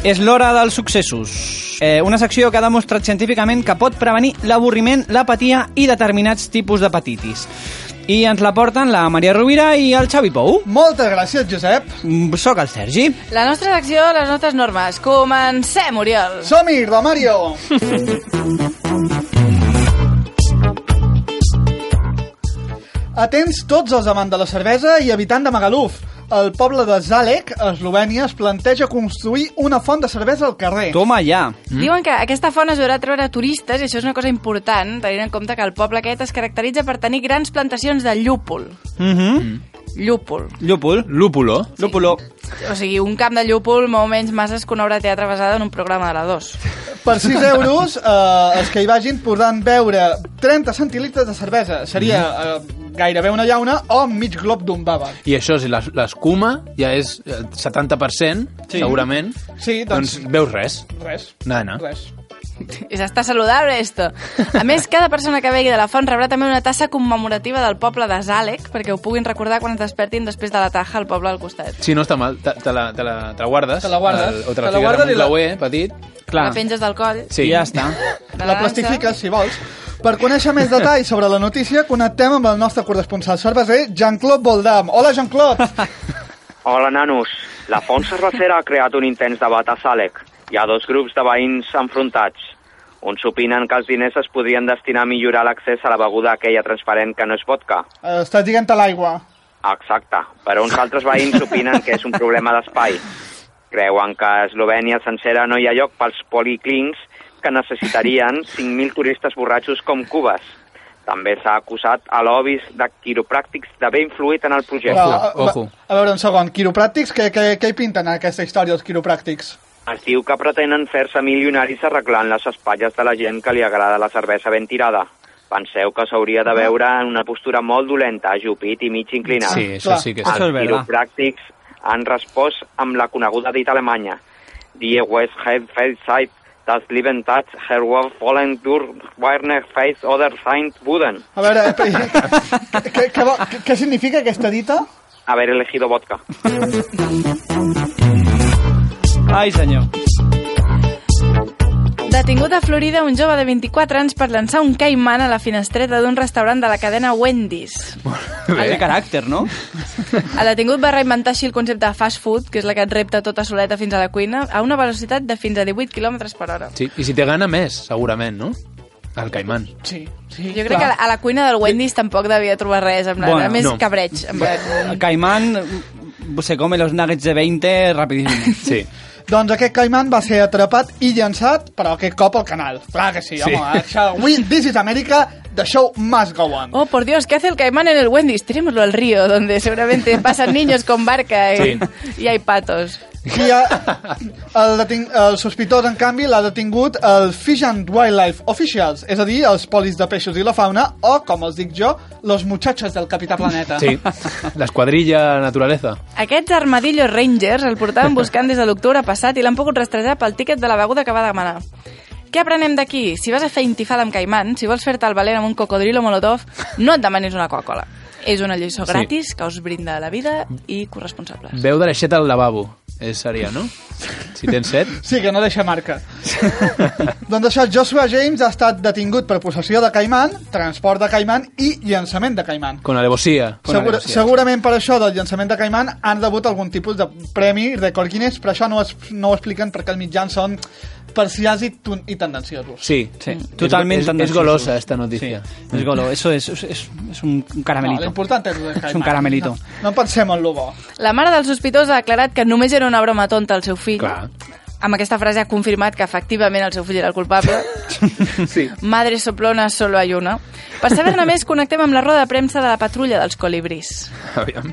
[SPEAKER 4] És l'hora dels successos. Eh, una secció que ha demostrat científicament que pot prevenir l'avorriment, l'apatia i determinats tipus d'hepatitis. I ens la porten la Maria Rovira i el Xavi Pou.
[SPEAKER 6] Moltes gràcies, Josep.
[SPEAKER 4] Mm, Soc el Sergi.
[SPEAKER 7] La nostra secció, les nostres normes. Comencem, Oriol.
[SPEAKER 6] Som-hi, de Mario! Atents tots els amants de la cervesa i habitant de Magaluf. El poble de Zalek, a Eslovènia, es planteja construir una font de cervesa al carrer.
[SPEAKER 4] Toma ja.
[SPEAKER 7] Diuen que aquesta font ajudarà a treure turistes i això és una cosa important, tenint en compte que el poble aquest es caracteritza per tenir grans plantacions de llúpol.
[SPEAKER 4] Mm -hmm.
[SPEAKER 7] Llúpol.
[SPEAKER 4] Llúpol. Lúpulo. Lúpulo.
[SPEAKER 7] O sigui, un camp de llúpol, més o menys, masses que una obra de teatre basada en un programa de la 2.
[SPEAKER 6] Per 6 euros, eh, els que hi vagin podran beure 30 centilitres de cervesa. Seria eh, gairebé una llauna o mig glob d'un bava.
[SPEAKER 2] I això, si l'es- l'escuma ja és eh, el 70%,
[SPEAKER 6] Sí.
[SPEAKER 2] segurament,
[SPEAKER 6] Sí,
[SPEAKER 2] doncs...
[SPEAKER 6] doncs-
[SPEAKER 2] veus res.
[SPEAKER 6] Res.
[SPEAKER 2] Nada.
[SPEAKER 6] Res.
[SPEAKER 7] I s'està saludable, esto. A més, cada persona que vegui de la font rebrà també una tassa commemorativa del poble de Zàlec, perquè ho puguin recordar quan es despertin després de la taja al poble al costat.
[SPEAKER 2] Sí, no està mal. Te, te, la, te, la, te la guardes.
[SPEAKER 6] Te la guardes.
[SPEAKER 2] El, o te la,
[SPEAKER 6] Te la
[SPEAKER 2] figues
[SPEAKER 6] guardes
[SPEAKER 2] en un
[SPEAKER 6] i la-
[SPEAKER 2] clauer petit.
[SPEAKER 7] La penges del coll.
[SPEAKER 2] Sí.
[SPEAKER 4] Ja està.
[SPEAKER 6] La
[SPEAKER 7] La dansa.
[SPEAKER 6] plastifiques, si vols. Per conèixer més detalls sobre la notícia, connectem amb el nostre corresponsal cerveser, Jean-Claude Boldam. Hola, Jean-Claude! Eh,
[SPEAKER 12] Hola, nanos. La font cervecera ha creat un intens debat a Sàlec. Hi ha dos grups de veïns enfrontats. Uns opinen que els diners es podrien destinar a millorar l'accés a la beguda aquella transparent que no és vodka.
[SPEAKER 6] Eh, Estàs dient a l'aigua.
[SPEAKER 12] Exacte. Però uns altres veïns opinen que és un problema d'espai. Creuen que a Eslovènia sencera no hi ha lloc pels policlins que necessitarien 5.000 turistes borratxos com Cubes. També s'ha acusat a lobbies de quiropràctics d'haver influït en el projecte.
[SPEAKER 6] Però, A, a veure, un segon. Quiropràctics, què, què, què hi pinten en aquesta història, els quiropràctics?
[SPEAKER 12] Es diu que pretenen fer-se milionaris arreglant les espatlles de la gent que li agrada la cervesa ben tirada. Penseu que s'hauria
[SPEAKER 2] Ah.
[SPEAKER 12] de veure en una postura molt dolenta, ajupit i mig inclinat.
[SPEAKER 2] Sí, això Clar, sí que és- això és
[SPEAKER 12] Els
[SPEAKER 2] verdad.
[SPEAKER 12] quiropràctics han respost amb la coneguda dita alemanya. Die West have felt sight, das Leben tat, her war fallen durch Werner face oder sein Buden.
[SPEAKER 6] A veure, què, què, vol- què, què significa aquesta dita?
[SPEAKER 12] Haber elegido vodka.
[SPEAKER 4] Ai, senyor.
[SPEAKER 7] Detingut a Florida un jove de 24 anys per llançar un caimán a la finestreta d'un restaurant de la cadena Wendy's.
[SPEAKER 4] Ai, de caràcter, no?
[SPEAKER 7] El detingut va reinventar així el concepte de fast food, que és la que et repta tota soleta fins a la cuina, a una velocitat de fins a 18 km per hora.
[SPEAKER 2] Sí. I si té gana més, segurament, no? El caimán.
[SPEAKER 6] Sí.
[SPEAKER 7] Jo crec que a la cuina del Wendy's tampoc devia trobar res, en plan,
[SPEAKER 4] Bueno,
[SPEAKER 7] a més
[SPEAKER 4] no.
[SPEAKER 7] cabreig. En plan.
[SPEAKER 4] El Caimán mm, se come los nuggets de 20 rapidíssim.
[SPEAKER 2] Sí.
[SPEAKER 6] Doncs aquest caimán va ser atrapat i llançat, però aquest cop al canal. Clar Ah, que sí,
[SPEAKER 4] Sí.
[SPEAKER 6] sí. home. eh, Això, avui, This is America, the show must go on.
[SPEAKER 7] Oh, por Dios, ¿qué hace el caimán en el Wendy's? Tirémoslo al río, donde seguramente pasan niños con barca y, y hay patos.
[SPEAKER 6] I ha, el, deting, el sospitós, en canvi, l'ha detingut el Fish and Wildlife Officials, és a dir, els polis de peixos i la fauna, o, com els dic jo, los muchachos del Capità Planeta.
[SPEAKER 2] Sí. L'esquadrilla naturaleza.
[SPEAKER 7] Aquests Armadillo Rangers el portaven buscant des de l'octubre passat i l'han pogut rastrejar pel tiquet de la beguda que va demanar. Què aprenem d'aquí? Si vas a fer intifada amb caimán, si vols fer-te el valent amb un cocodrilo molotov, no et demanis una Coca-Cola. És una lliçó
[SPEAKER 2] Sí.
[SPEAKER 7] gratis que us brinda la vida i corresponsable.
[SPEAKER 2] Veu de l'aixeta al lavabo. És, seria, no? Si tens set.
[SPEAKER 6] Sí, que no deixa marca. doncs això, Joshua James ha estat detingut per possessió de caimán, transport de caimán i llançament de caimán.
[SPEAKER 2] Con alevosía. Con
[SPEAKER 6] Segur,
[SPEAKER 2] alevosía.
[SPEAKER 6] segurament per això del llançament de Caimán han rebut algun tipus de premi, rècord Guinness, però això no, es, no ho expliquen perquè els mitjans són parcials i, tun- i tendenciosos.
[SPEAKER 2] Sí, Mm.
[SPEAKER 4] sí. Totalment
[SPEAKER 2] es, es, es
[SPEAKER 4] tendenciosos.
[SPEAKER 2] golosa esta noticia.
[SPEAKER 4] Es golo, eso es, es, es- es un
[SPEAKER 6] No,
[SPEAKER 4] caramelito.
[SPEAKER 6] l'important és, el Caimán.
[SPEAKER 4] un caramelito.
[SPEAKER 6] No, no pensem en lo bo.
[SPEAKER 7] La mare del sospitós ha declarat que només era una broma tonta al seu fill.
[SPEAKER 2] Clar.
[SPEAKER 7] Amb aquesta frase ha confirmat que efectivament el seu fill era el culpable.
[SPEAKER 2] Sí.
[SPEAKER 7] Madre soplona, solo hay una. Per saber-ne més, connectem amb la roda de premsa de la patrulla dels colibrís.
[SPEAKER 2] Aviam.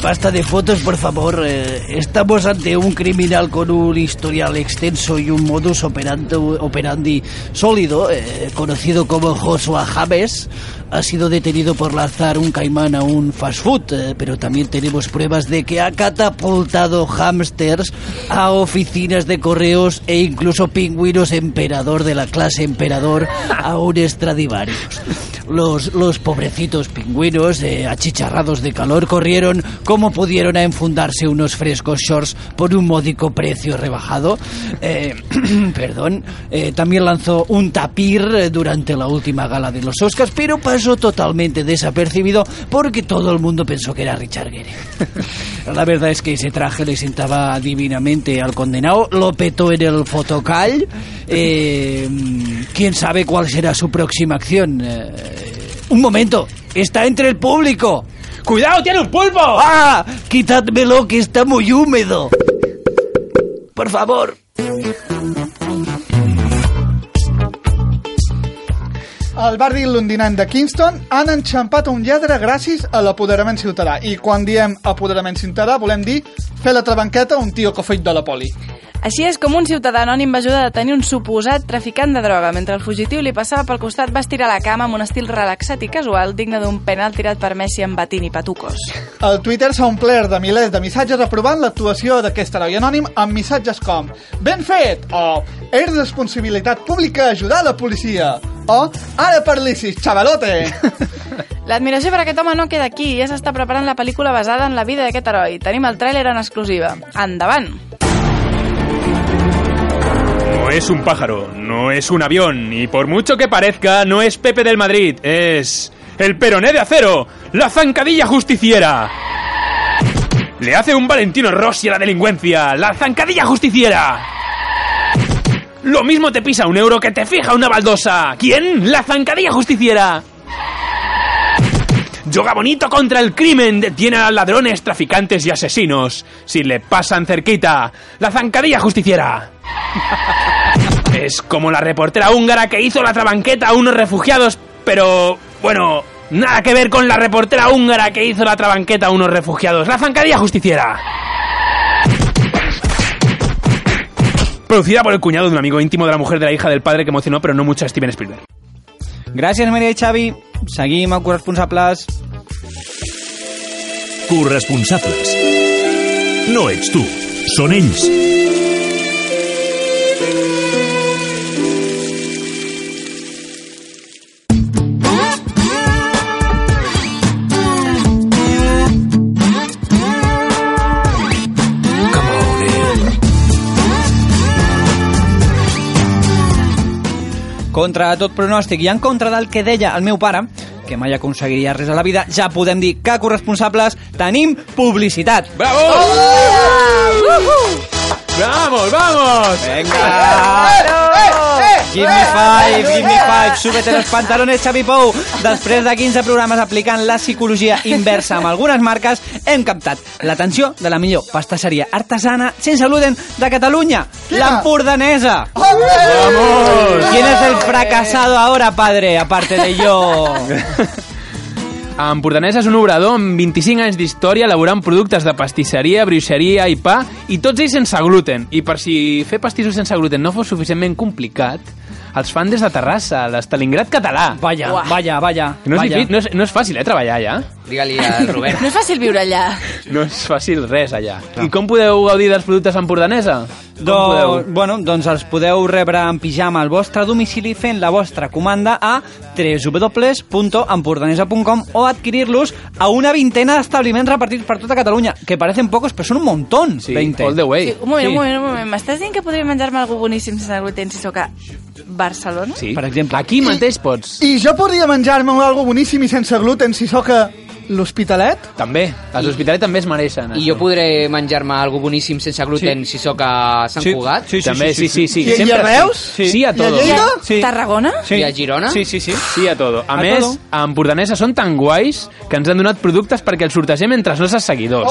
[SPEAKER 13] Basta de fotos, por favor. Eh, Estamos ante un criminal con un historial extenso y un modus operando- operandi sólido, eh, conocido como Joshua James. Ha sido detenido por lanzar un caimán a un fast food, eh, pero también tenemos pruebas de que ha catapultado hamsters a oficinas de correos e incluso pingüinos emperador de la clase emperador a un Stradivarius. Los, los pobrecitos pingüinos, eh, achicharrados de calor, corrieron como pudieron a enfundarse unos frescos shorts por un módico precio rebajado. Eh, perdón. Eh, también lanzó un tapir eh, durante la última gala de los Oscars, pero pasó totalmente desapercibido porque todo el mundo pensó que era Richard Gere. La verdad es que ese traje le sentaba divinamente al condenado, lo petó en el fotocall. Eh, ¿Quién sabe cuál será su próxima acción? Eh, un momento, está entre el público. ¡Cuidado, tiene un pulpo! ¡Ah! Quitádmelo que está muy húmedo. Por favor.
[SPEAKER 6] Al barri londinant de Kingston han enxampat un lladre gràcies a l'apoderament ciutadà. I quan diem apoderament ciutadà volem dir fer la trabanqueta a un tio que ha fet de la poli.
[SPEAKER 7] Així és com un ciutadà anònim va ajudar a detenir un suposat traficant de droga. Mentre el fugitiu li passava pel costat, va estirar la cama amb un estil relaxat i casual digne d'un penal tirat per Messi amb batín i patucos.
[SPEAKER 6] El Twitter s'ha omplert de milers de missatges aprovant l'actuació d'aquest heroi anònim amb missatges com «Ben fet!» o «És responsabilitat pública ajudar la policia!» o «Ara parlissis, xavalote!»
[SPEAKER 7] L'admiració per aquest home no queda aquí, ja s'està preparant la pel·lícula basada en la vida d'aquest heroi. Tenim el tràiler en exclusiva. Endavant!
[SPEAKER 14] No es un pájaro, no es un avión, y por mucho que parezca, no es Pepe del Madrid, es. El peroné de acero, la zancadilla justiciera. Le hace un Valentino Rossi a la delincuencia, la zancadilla justiciera. Lo mismo te pisa un euro que te fija una baldosa. ¿Quién? La zancadilla justiciera. Yoga bonito contra el crimen, detiene a ladrones, traficantes y asesinos. Si le pasan cerquita, la zancadilla justiciera. Es como la reportera húngara que hizo la trabanqueta a unos refugiados, pero bueno, nada que ver con la reportera húngara que hizo la trabanqueta a unos refugiados. La zancadilla justiciera. Producida por el cuñado de un amigo íntimo de la mujer de la hija del padre que emocionó, pero no mucho a Steven Spielberg.
[SPEAKER 4] Gràcies, Maria i Xavi. Seguim a Corresponsables.
[SPEAKER 15] Corresponsables. No ets tu, són ells.
[SPEAKER 4] Contra tot pronòstic i en contra del que deia el meu pare, que mai aconseguiria res a la vida, ja podem dir que corresponsables tenim publicitat. Bravo!
[SPEAKER 14] ¡Vamos, vamos!
[SPEAKER 4] Venga! Give me five, give me five, súbete los pantalones, Xavi Pou. Després de 15 programes aplicant la psicologia inversa amb algunes marques, hem captat l'atenció de la millor pastasseria artesana sense gluten de Catalunya, l'Empordanesa.
[SPEAKER 14] ¡Vamos!
[SPEAKER 4] ¿Quién es el fracasado ahora, padre? Aparte de yo.
[SPEAKER 2] A Empordanesa és un obrador amb 25 anys d'història elaborant productes de pastisseria, bruixeria i pa, i tots ells sense gluten. I per si fer pastissos sense gluten no fos suficientment complicat, els fan des de Terrassa, a l'Estalingrad català.
[SPEAKER 4] Vaya,
[SPEAKER 2] Uah.
[SPEAKER 4] vaya, vaya.
[SPEAKER 2] No és,
[SPEAKER 4] vaya.
[SPEAKER 2] difícil, no, és, no és fàcil, eh, treballar allà.
[SPEAKER 5] Digue-li al Robert.
[SPEAKER 7] No és fàcil viure allà.
[SPEAKER 2] No és fàcil res allà. I com podeu gaudir dels productes empordanesa?
[SPEAKER 4] Doncs, bueno, doncs els podeu rebre en pijama al vostre domicili fent la vostra comanda a www.empordanesa.com o adquirir-los a una vintena d'establiments repartits per tota Catalunya, que parecen pocos, però són un montón. Sí, 20. all the
[SPEAKER 2] way.
[SPEAKER 7] Un moment, un moment, un moment. M'estàs dient que podria menjar-me algú boníssim sense gluten si sóc a Barcelona?
[SPEAKER 2] Sí. Per exemple. Aquí mateix pots.
[SPEAKER 6] I jo podria menjar-me algo boníssim i sense gluten si sóc a l'Hospitalet?
[SPEAKER 2] També. Els hospitals també es mereixen. eh.
[SPEAKER 5] I jo podré menjar-me alguna boníssim sense gluten si sóc a Sant
[SPEAKER 2] Sí.
[SPEAKER 5] Cugat?
[SPEAKER 2] Sí, sí, També, sí, sí, sí, sí. sí. I- i Sempre a sí. Reus? Sí. Sí a I a todo. Lleida? Sí.
[SPEAKER 7] Tarragona?
[SPEAKER 5] I a Girona?
[SPEAKER 4] Sí, sí, sí.
[SPEAKER 2] Sí a todo. A,
[SPEAKER 5] A
[SPEAKER 2] a més,
[SPEAKER 5] todo.
[SPEAKER 2] a Empordanesa són tan guais que ens han donat productes perquè els sortegem entre els nostres seguidors.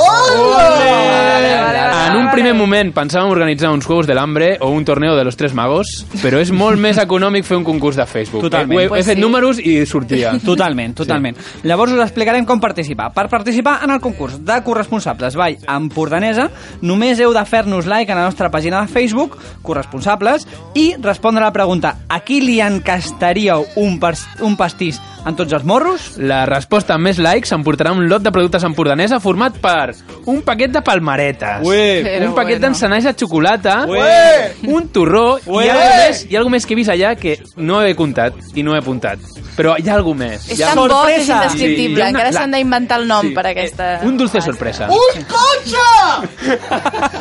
[SPEAKER 2] En un primer moment pensàvem organitzar uns Juegos de l'Hambre o un torneo de los Tres Magos, però és molt més econòmic fer un concurs de Facebook.
[SPEAKER 4] Totalment.
[SPEAKER 2] He, he
[SPEAKER 4] Pues
[SPEAKER 2] fet
[SPEAKER 4] sí.
[SPEAKER 2] números i sortia.
[SPEAKER 4] Totalment, totalment. Sí. Llavors us explicarem com participar. Per participar en el concurs de corresponsables Vall Empordanesa, només heu de fer-nos like a la nostra pàgina de Facebook, corresponsables, i respondre a la pregunta a qui li encastaríeu un, pas- un pastís en tots els morros?
[SPEAKER 2] La resposta amb més likes s'emportarà un lot de productes empordanesa format per un paquet de palmaretes,
[SPEAKER 4] Ué.
[SPEAKER 2] un
[SPEAKER 4] Pero
[SPEAKER 2] paquet
[SPEAKER 4] bueno.
[SPEAKER 2] d'encenalls de xocolata,
[SPEAKER 4] Ué.
[SPEAKER 2] un torró,
[SPEAKER 4] Ué.
[SPEAKER 2] i algo més, hi ha alguna més que he vist allà que no he comptat i no he apuntat. Però hi ha alguna més.
[SPEAKER 7] És
[SPEAKER 2] Hi ha-
[SPEAKER 7] tan bo que és indescriptible.
[SPEAKER 2] Hi ha una-
[SPEAKER 7] Encara
[SPEAKER 2] la-
[SPEAKER 7] s'han d'inventar el nom per aquesta...
[SPEAKER 2] Un dulce
[SPEAKER 4] Eh,
[SPEAKER 2] sorpresa.
[SPEAKER 7] Un
[SPEAKER 6] cotxe!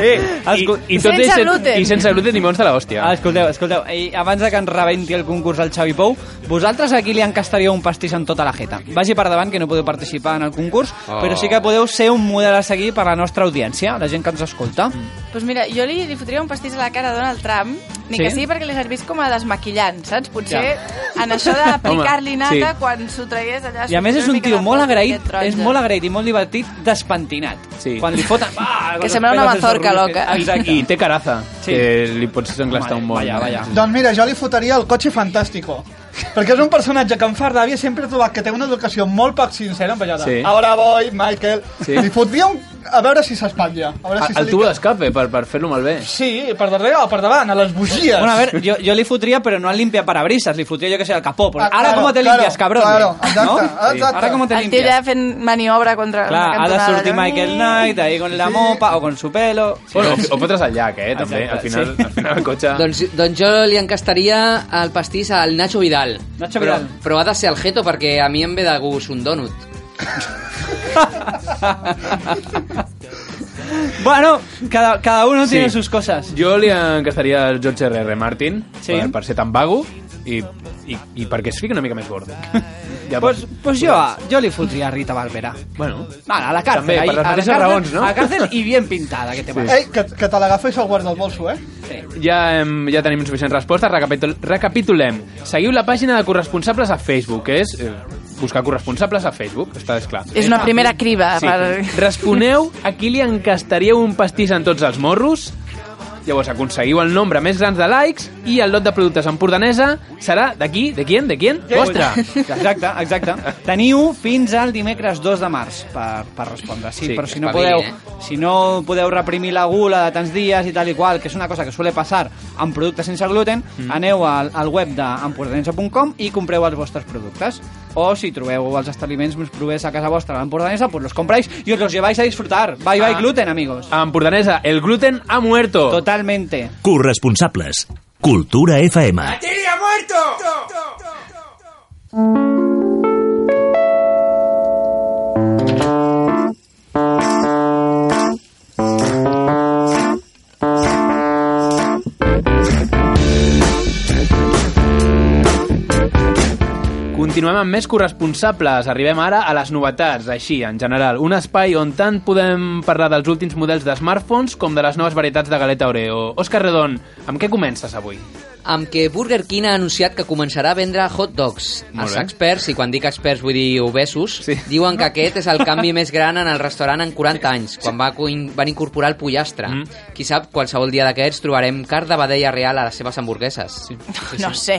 [SPEAKER 2] Eh, i, i, tot
[SPEAKER 4] Sense
[SPEAKER 2] és-
[SPEAKER 4] gluten.
[SPEAKER 2] I sense gluten i mons de la hòstia.
[SPEAKER 4] Ah, escolteu, escolteu, i abans de que ens rebenti el concurs al Xavi Pou, vosaltres aquí li encastaríeu un pastís en tota la jeta. Vagi per davant, que no podeu participar en el concurs,
[SPEAKER 5] Oh.
[SPEAKER 4] oh. però sí que podeu ser un model a seguir per a la nostra audiència, la gent que ens escolta. Mm.
[SPEAKER 7] Doncs mira, jo li, li fotria un pastís a la cara a Donald Trump, ni
[SPEAKER 4] Sí?
[SPEAKER 7] que sigui perquè li servís com a desmaquillant, saps? Potser
[SPEAKER 4] Ja.
[SPEAKER 7] en això d'aplicar-li
[SPEAKER 4] Home,
[SPEAKER 7] nata
[SPEAKER 4] sí.
[SPEAKER 7] quan s'ho tragués allà...
[SPEAKER 4] I a més és un tio molt agraït, és molt agraït i molt divertit, despentinat. Sí. Quan li foten... Ah,
[SPEAKER 7] Que sembla una mazorca loca.
[SPEAKER 4] Exacte.
[SPEAKER 2] I té caraza, sí. que li pots enclastar un món. Vaja,
[SPEAKER 4] vaja.
[SPEAKER 6] Doncs mira, jo li fotaria el cotxe fantàstico. Perquè és un personatge que en Fardàvia sempre he trobat que té una educació molt poc sincera amb allò de...
[SPEAKER 2] Sí.
[SPEAKER 6] Ahora voy, Michael.
[SPEAKER 2] Sí.
[SPEAKER 6] Li fotria un... A veure si s'espatlla. A veure si se
[SPEAKER 2] El
[SPEAKER 6] li
[SPEAKER 2] tubo d'escape per, per fer-lo malbé.
[SPEAKER 6] Sí, per darrere o per davant, a les bugies.
[SPEAKER 4] Bueno, a ver, yo, yo le fotría, pero no al limpia parabrisas, le fotría yo que sea al capó. porque,
[SPEAKER 6] Ah,
[SPEAKER 4] Ahora,
[SPEAKER 6] claro,
[SPEAKER 4] ¿cómo te
[SPEAKER 6] claro,
[SPEAKER 4] limpias, cabrón?
[SPEAKER 6] claro, exacte,
[SPEAKER 4] ¿No?
[SPEAKER 6] exacte.
[SPEAKER 4] Ahora, ¿cómo te
[SPEAKER 7] El tio
[SPEAKER 4] limpias?
[SPEAKER 7] ja fent maniobra contra
[SPEAKER 4] Clar,
[SPEAKER 7] una
[SPEAKER 4] ha de
[SPEAKER 7] cantonada.
[SPEAKER 4] sortir Michael Knight ahí con la mopa o con su pelo.
[SPEAKER 2] Bueno, o, o fotre's al llac, eh, també.
[SPEAKER 4] Exacte,
[SPEAKER 2] Al final,
[SPEAKER 4] sí.
[SPEAKER 2] al final el cotxe...
[SPEAKER 5] Doncs, doncs jo li encastaria el pastís al Nacho Vidal.
[SPEAKER 4] Nacho
[SPEAKER 5] però,
[SPEAKER 4] Vidal.
[SPEAKER 5] Però ha de ser el jeto perquè a mi em ve de gust un donut.
[SPEAKER 4] Bueno, cada, cada uno
[SPEAKER 2] Sí.
[SPEAKER 4] tiene sus cosas.
[SPEAKER 2] Jo li encastaria el George R.R. Martin
[SPEAKER 4] Sí.
[SPEAKER 2] per, per ser tan vago i, i, i perquè es fiqui una mica més gordo. Ja
[SPEAKER 4] Pues, pues yo, a- yo le fotría a Rita Barbera.
[SPEAKER 2] Bueno.
[SPEAKER 4] Vale, a la cárcel.
[SPEAKER 2] També,
[SPEAKER 4] ahí,
[SPEAKER 2] per les
[SPEAKER 4] a la
[SPEAKER 2] mateixes
[SPEAKER 4] cárcel-
[SPEAKER 2] raons, no?
[SPEAKER 4] A la cárcel y bien pintada, que te pasa.
[SPEAKER 6] Ei, que, que te l'agafa i se'l guarda al bolso, eh?
[SPEAKER 2] Ja, hem, ja tenim suficients respostes, recapitul recapitulem. Seguiu la pàgina de corresponsables a Facebook, que és eh, buscar corresponsables a Facebook, està és clar.
[SPEAKER 7] És una primera criba.
[SPEAKER 2] Sí.
[SPEAKER 7] Per...
[SPEAKER 2] Responeu a qui li encastaríeu un pastís en tots els morros, llavors aconseguiu el nombre més gran de likes i el lot de productes empordanesa serà de qui? De quién? De quién? Vostre!
[SPEAKER 4] Exacte, exacte. Teniu fins al dimecres 2 de març per, per respondre. Sí,
[SPEAKER 2] Sí,
[SPEAKER 4] sí però
[SPEAKER 2] que
[SPEAKER 4] si no,
[SPEAKER 2] espavilin,
[SPEAKER 4] podeu, si no podeu reprimir la gula de tants dies i tal i qual, que és una cosa que suele passar amb productes sense gluten,
[SPEAKER 2] Mm.
[SPEAKER 4] mm. aneu al, al web d'empordanesa.com i compreu els vostres productes. O si trobeu els establiments més provers a casa vostra a l'Empordanesa, pues los compráis i os los lleváis a disfrutar. Bye, bye,
[SPEAKER 2] Ah.
[SPEAKER 4] gluten, amigos.
[SPEAKER 2] A Empordanesa, el gluten ha muerto.
[SPEAKER 4] Totalmente.
[SPEAKER 15] Corresponsables. Cultura FM.
[SPEAKER 1] ¡Batería muerto!
[SPEAKER 2] Continuem amb més corresponsables. Arribem ara a les novetats, així, en general. Un espai on tant podem parlar dels últims models de smartphones com de les noves varietats de galeta Oreo. Òscar Redon, amb què comences avui?
[SPEAKER 5] Amb que Burger King ha anunciat que començarà a vendre hot dogs.
[SPEAKER 2] Molt
[SPEAKER 5] Els
[SPEAKER 2] bé.
[SPEAKER 5] experts, i quan dic experts vull dir obesos, sí. diuen que aquest és el canvi més gran en el restaurant en 40 anys, quan va coin- van incorporar el pollastre. Mm. Qui sap, qualsevol dia d'aquests trobarem carn de vedella real a les seves hamburgueses. Sí.
[SPEAKER 7] No sé.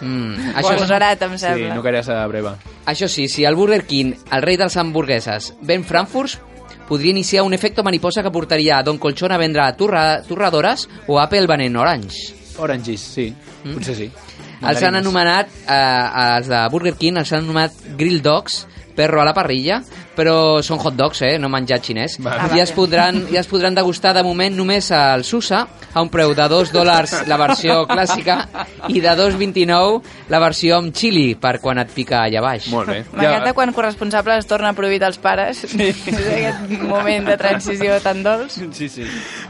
[SPEAKER 5] Mm,
[SPEAKER 7] Això és barat, em
[SPEAKER 2] Sí,
[SPEAKER 7] sembla.
[SPEAKER 2] no calia ser breva.
[SPEAKER 5] Això sí, si el Burger King, el rei dels hamburgueses, ven Frankfurt, podria iniciar un efecte mariposa que portaria a Don Colchón a vendre torra, torradores o Apple venent orange.
[SPEAKER 2] Oranges, sí. Mm? Potser sí.
[SPEAKER 5] Els han
[SPEAKER 2] Mandarines.
[SPEAKER 5] anomenat, eh, els de Burger King, els han anomenat grill dogs, perro a la parrilla, però són hot dogs, eh, no menjar xinès.
[SPEAKER 7] Ah,
[SPEAKER 5] I, es podran, I es podran degustar de moment només al Susa, a un preu de 2 dòlars la versió clàssica i de 2,29 la versió amb xili per quan et pica allà baix.
[SPEAKER 2] Molt bé.
[SPEAKER 7] M'encanta quan corresponsable es torna prohibit als pares. Sí. És aquest moment de transició tan dolç.
[SPEAKER 4] Sí, sí.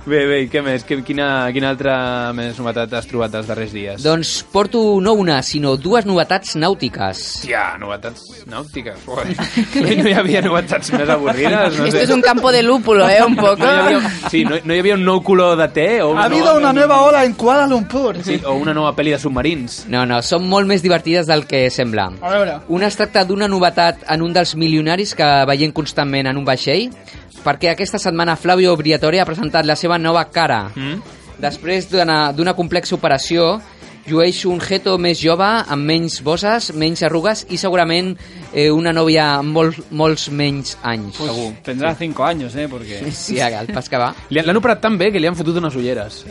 [SPEAKER 2] Bé, bé, i què més? Que- Quina, quina altra més novetat has trobat els darrers dies?
[SPEAKER 5] Doncs porto no una, sinó dues novetats nàutiques.
[SPEAKER 2] Hòstia, novetats nàutiques. ué. No hi havia novetats més avorrides. No
[SPEAKER 7] Esto
[SPEAKER 2] sé.
[SPEAKER 7] es un campo de lúpulo, eh, un poco.
[SPEAKER 2] No hi havia, sí, no, no hi havia un nou color de té? O un
[SPEAKER 6] Ha
[SPEAKER 2] nou-
[SPEAKER 6] habido una nueva ola en Kuala Lumpur.
[SPEAKER 2] Sí, o una nova pel·li de submarins.
[SPEAKER 5] No, no, són molt més divertides del que sembla.
[SPEAKER 6] A veure.
[SPEAKER 5] Una es tracta d'una novetat en un dels milionaris que veiem constantment en un vaixell, perquè aquesta setmana Flavio Briatore ha presentat la seva nova cara. Mm? Després d'una d'una complexa operació, llueix un geto més jove, amb menys bosses, menys arrugues i segurament eh, una nòvia amb mol, molts menys anys.
[SPEAKER 4] Pues tendrá 5 años, eh, porque...
[SPEAKER 5] Sí, al pas que va.
[SPEAKER 2] Li han- L'han operat tan bé que li han fotut unes ulleres.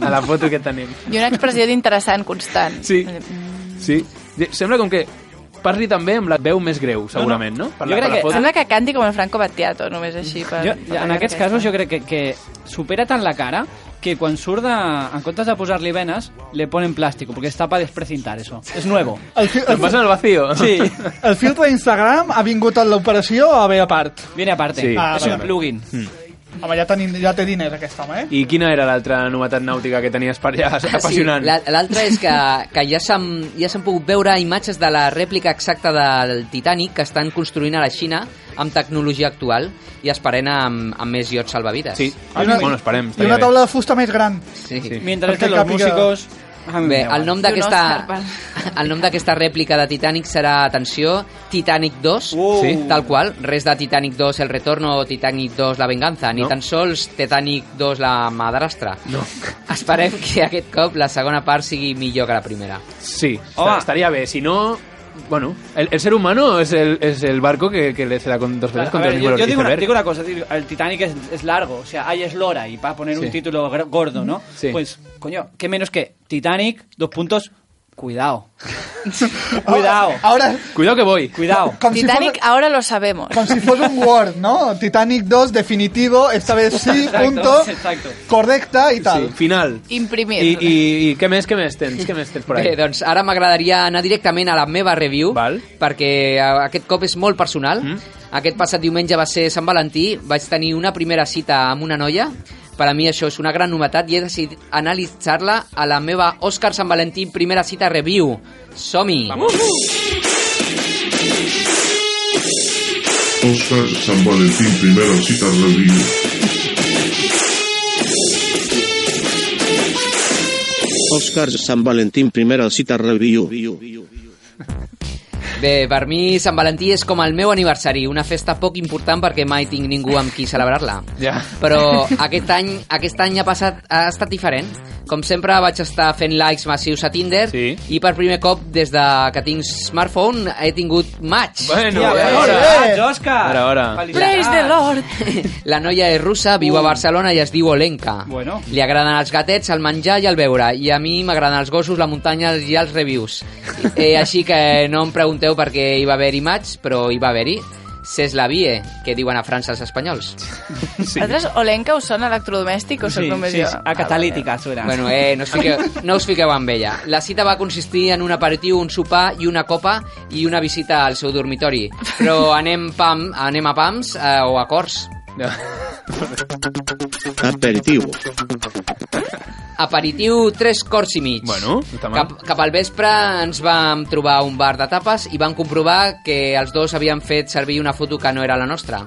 [SPEAKER 2] A la foto que tenim.
[SPEAKER 7] I una expressió d'interessant constant.
[SPEAKER 2] Sí. Sí. Sembla com que parli també amb la veu més greu, segurament, no? Per la-
[SPEAKER 4] Jo crec
[SPEAKER 2] per la
[SPEAKER 4] que-
[SPEAKER 2] foto.
[SPEAKER 7] Sembla que canti com el Franco Battiato, només així. Per,
[SPEAKER 4] Jo, en
[SPEAKER 7] per la
[SPEAKER 4] aquests
[SPEAKER 7] orquestra.
[SPEAKER 4] casos jo crec que, que supera tant la cara que quan surt de, en comptes de posar-li venes le ponen plástico porque está para desprecintar eso. Es nuevo.
[SPEAKER 6] El, fi-
[SPEAKER 2] Em passa al vacío.
[SPEAKER 4] Sí.
[SPEAKER 6] el filtre d'Instagram ha vingut a l'operació o bé a part?
[SPEAKER 4] Viene aparte.
[SPEAKER 2] Sí,
[SPEAKER 6] Ah,
[SPEAKER 4] es un
[SPEAKER 2] vale.
[SPEAKER 4] plugin.
[SPEAKER 6] Home, ja, tenim, ja té diners aquest home, eh?
[SPEAKER 2] I quina era l'altra novetat nàutica que tenies per allà? Apassionant.
[SPEAKER 5] Ah, Sí, la- L'altra és que, que ja s'han ja s'han pogut veure imatges de la rèplica exacta del Titanic que estan construint a la Xina amb tecnologia actual i esperant amb, amb més iots salvavides.
[SPEAKER 2] Sí.
[SPEAKER 6] I una-
[SPEAKER 2] bueno, esperem.
[SPEAKER 6] I
[SPEAKER 2] estaria
[SPEAKER 6] una
[SPEAKER 2] bé.
[SPEAKER 6] taula de fusta més gran.
[SPEAKER 5] Sí.
[SPEAKER 2] Sí.
[SPEAKER 4] Mientras
[SPEAKER 6] Perquè
[SPEAKER 4] estén los
[SPEAKER 6] càpiga-
[SPEAKER 4] músicos...
[SPEAKER 5] Bé,
[SPEAKER 4] deu
[SPEAKER 5] el nom
[SPEAKER 4] anys.
[SPEAKER 5] d'aquesta el nom d'aquesta rèplica de Titanic serà, atenció, Titanic 2,
[SPEAKER 4] Sí.
[SPEAKER 5] tal qual, res de Titanic 2 El retorno o Titanic 2 La venganza, ni
[SPEAKER 4] No.
[SPEAKER 5] tan sols Titanic 2 La madrastra. No. Esperem que aquest cop la segona part sigui millor que la primera.
[SPEAKER 2] Sí,
[SPEAKER 5] Oh, ah.
[SPEAKER 2] estaría bien. Si no, bueno, el, el ser humano es el, es el barco que, que le será con dos
[SPEAKER 4] Claro,
[SPEAKER 2] veces
[SPEAKER 4] a
[SPEAKER 2] contra
[SPEAKER 4] ver,
[SPEAKER 2] el
[SPEAKER 4] yo,
[SPEAKER 2] muro
[SPEAKER 4] yo
[SPEAKER 2] del
[SPEAKER 4] digo, una,
[SPEAKER 2] iceberg.
[SPEAKER 4] digo una cosa, digo, el Titanic es, es largo, o sea, hay eslora y para poner
[SPEAKER 2] Sí.
[SPEAKER 4] un título gr- gordo, ¿no?
[SPEAKER 2] Sí.
[SPEAKER 4] Pues, coño, ¿qué menos que Titanic, dos puntos, cuidado. cuidado.
[SPEAKER 6] Ahora...
[SPEAKER 2] Cuidado que voy.
[SPEAKER 4] Cuidado.
[SPEAKER 7] Titanic, ahora lo sabemos.
[SPEAKER 6] Como si fuera un Word, ¿no? Titanic 2, definitivo, esta vez sí,
[SPEAKER 7] Exacto,
[SPEAKER 6] punto,
[SPEAKER 7] exacto.
[SPEAKER 6] correcta y tal.
[SPEAKER 2] Sí, final.
[SPEAKER 7] Imprimir.
[SPEAKER 2] I, i, i què més, què més tens? Què més tens por ahí?
[SPEAKER 5] Bé, doncs ara m'agradaria anar directament a la meva review, Val. perquè eh, aquest cop és molt personal. Mm. Aquest passat diumenge va ser Sant Valentí, vaig tenir una primera cita amb una noia, per a mi això és una gran novetat i he decidit analitzar-la a la meva Òscar Sant Valentí primera cita review. Som-hi! Uhuh.
[SPEAKER 16] Oscar San Valentín, primera cita review.
[SPEAKER 17] Oscar San Valentín, primera cita review.
[SPEAKER 5] Bé, per mi Sant Valentí és com el meu aniversari, una festa poc important perquè mai tinc ningú amb qui celebrar-la.
[SPEAKER 2] Ja.
[SPEAKER 5] Però aquest any, aquest any ha, passat, ha estat diferent. Com sempre vaig estar fent likes massius a Tinder sí. i per primer cop des de que tinc smartphone he tingut match.
[SPEAKER 2] Bueno, eh,
[SPEAKER 4] Hòstia, bé,
[SPEAKER 5] ara.
[SPEAKER 4] Faig, Òscar.
[SPEAKER 2] Ara, ara.
[SPEAKER 7] Praise the Lord.
[SPEAKER 5] La noia és russa, viu a Barcelona i es diu Olenka. Bueno. Li agraden els gatets, el menjar i el beure. I a mi m'agraden els gossos, la muntanya i els reviews. Eh, així que no em pregunteu per què hi va haver-hi maig, però hi va haver-hi. C'est la vie, que diuen a França els espanyols.
[SPEAKER 7] Sí. Altres Olenka us sona electrodomèstic o sóc només jo?
[SPEAKER 5] Ah, Bueno, eh, no us, fiqueu, no us fiqueu amb ella. La cita va consistir en un aperitiu, un sopar i una copa i una visita al seu dormitori. Però anem, pam, anem a pams eh, o a cors.
[SPEAKER 17] Aperitivo.
[SPEAKER 5] Aperitiu, tres corts i mig. Bueno, cap, cap al vespre ens vam trobar a un bar de tapes i vam comprovar que els dos havien fet servir una foto que no era la nostra.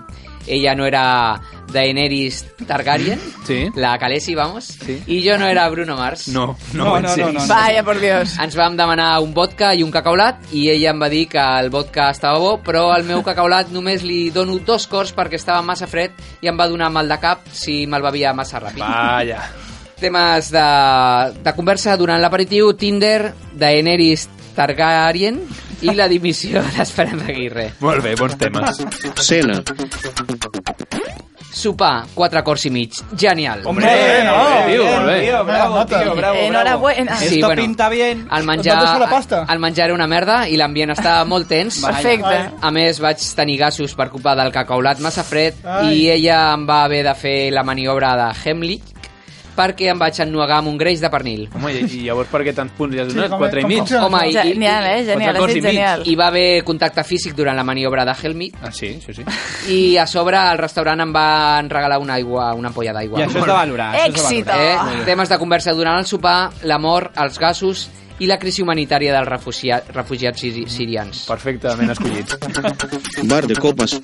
[SPEAKER 5] Ella no era Daenerys Targaryen, sí. la Khaleesi, vamos, sí. i jo no era Bruno Mars.
[SPEAKER 2] No, no, No, en no, serio. no, no, no.
[SPEAKER 7] Vaya, por Dios.
[SPEAKER 5] Ens vam demanar un vodka i un cacaulat i ella em va dir que el vodka estava bo, però el meu cacaulat només li dono dos cors perquè estava massa fred i em va donar mal de cap si me'l bevia massa ràpid.
[SPEAKER 2] Vaya.
[SPEAKER 5] Temes de, de conversa durant l'aperitiu, Tinder, Daenerys Targaryen i la dimissió d'Esperanza Aguirre.
[SPEAKER 2] Molt bé, bons temes.
[SPEAKER 17] Cena.
[SPEAKER 5] Sopar, quatre cors i mig. Genial.
[SPEAKER 4] Hombre, Hombre, no, molt bé, tio, bien, molt bé. tio, bravo,
[SPEAKER 5] Bona nota.
[SPEAKER 4] tio, bravo, Enhorabuena. bravo. Esto pinta bien.
[SPEAKER 5] El
[SPEAKER 4] ¿Dónde está
[SPEAKER 5] menjar,
[SPEAKER 4] la
[SPEAKER 5] el menjar era una merda i l'ambient estava molt tens.
[SPEAKER 4] Perfecte. Vaya.
[SPEAKER 5] A més, vaig tenir gasos per culpa del cacaulat massa fred
[SPEAKER 4] Ai.
[SPEAKER 5] i ella em va haver de fer la maniobra de Hemlich perquè em vaig ennuegar amb un greix de pernil.
[SPEAKER 2] Home, i, i llavors per què tants punts ja has
[SPEAKER 5] Sí,
[SPEAKER 2] donat?
[SPEAKER 5] com-
[SPEAKER 2] Quatre i
[SPEAKER 5] com
[SPEAKER 2] mig?
[SPEAKER 5] funciona, Home, i- i-
[SPEAKER 7] Genial, eh? Genial, has dit genial.
[SPEAKER 5] Hi va haver contacte físic durant la maniobra de Helmi
[SPEAKER 2] Ah, sí, sí, sí.
[SPEAKER 5] i a sobre al restaurant em van regalar una aigua, una ampolla d'aigua.
[SPEAKER 4] I això és de valorar, això és de
[SPEAKER 5] Èxito!
[SPEAKER 4] valorar. Molt
[SPEAKER 5] Eh?
[SPEAKER 4] bé.
[SPEAKER 5] Temes de conversa durant el sopar, l'amor, els gasos i la crisi humanitària dels refugia- refugiats siri sirians.
[SPEAKER 2] Perfectament escollit.
[SPEAKER 17] Bar de copas.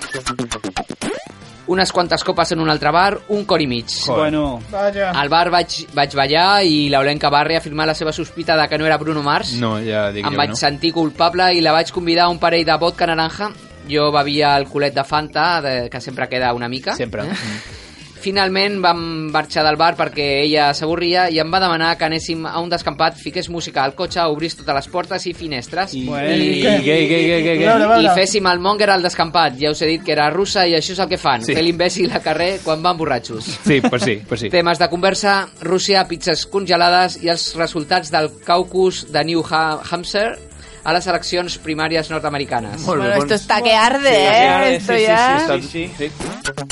[SPEAKER 5] Unes quantes copes en un altre bar, un cor i mig.
[SPEAKER 4] Bueno.
[SPEAKER 6] Vaya.
[SPEAKER 5] Al bar vaig, vaig ballar i l'Olenka va reafirmar la seva sospita de que no era Bruno Mars.
[SPEAKER 2] No, ja dic
[SPEAKER 5] Em
[SPEAKER 2] jo
[SPEAKER 5] vaig
[SPEAKER 2] que no.
[SPEAKER 5] sentir culpable i la vaig convidar a un parell de vodka naranja. Jo bevia el culet de Fanta, de, que sempre queda una mica. Eh? Sempre. Finalment vam marxar del bar perquè ella s'avorria i em va demanar que anéssim a un descampat, fiqués música al cotxe, obrís totes les portes i finestres i,
[SPEAKER 2] i què? què, què, què, què, què?
[SPEAKER 5] i,
[SPEAKER 2] Veure, veure.
[SPEAKER 5] féssim el monger al descampat. Ja us he dit que era russa i això és el que fan,
[SPEAKER 2] Sí.
[SPEAKER 5] fer l'imbècil al carrer quan van borratxos.
[SPEAKER 2] Sí, pues sí, pues sí.
[SPEAKER 5] Temes de conversa, Rússia, pizzas congelades i els resultats del caucus de New Ha- Hampshire a les eleccions primàries nord-americanes.
[SPEAKER 7] Molt bé, Bueno, esto bon- está que arde, Sí, eh? arde, Esto sí, sí, ya. sí,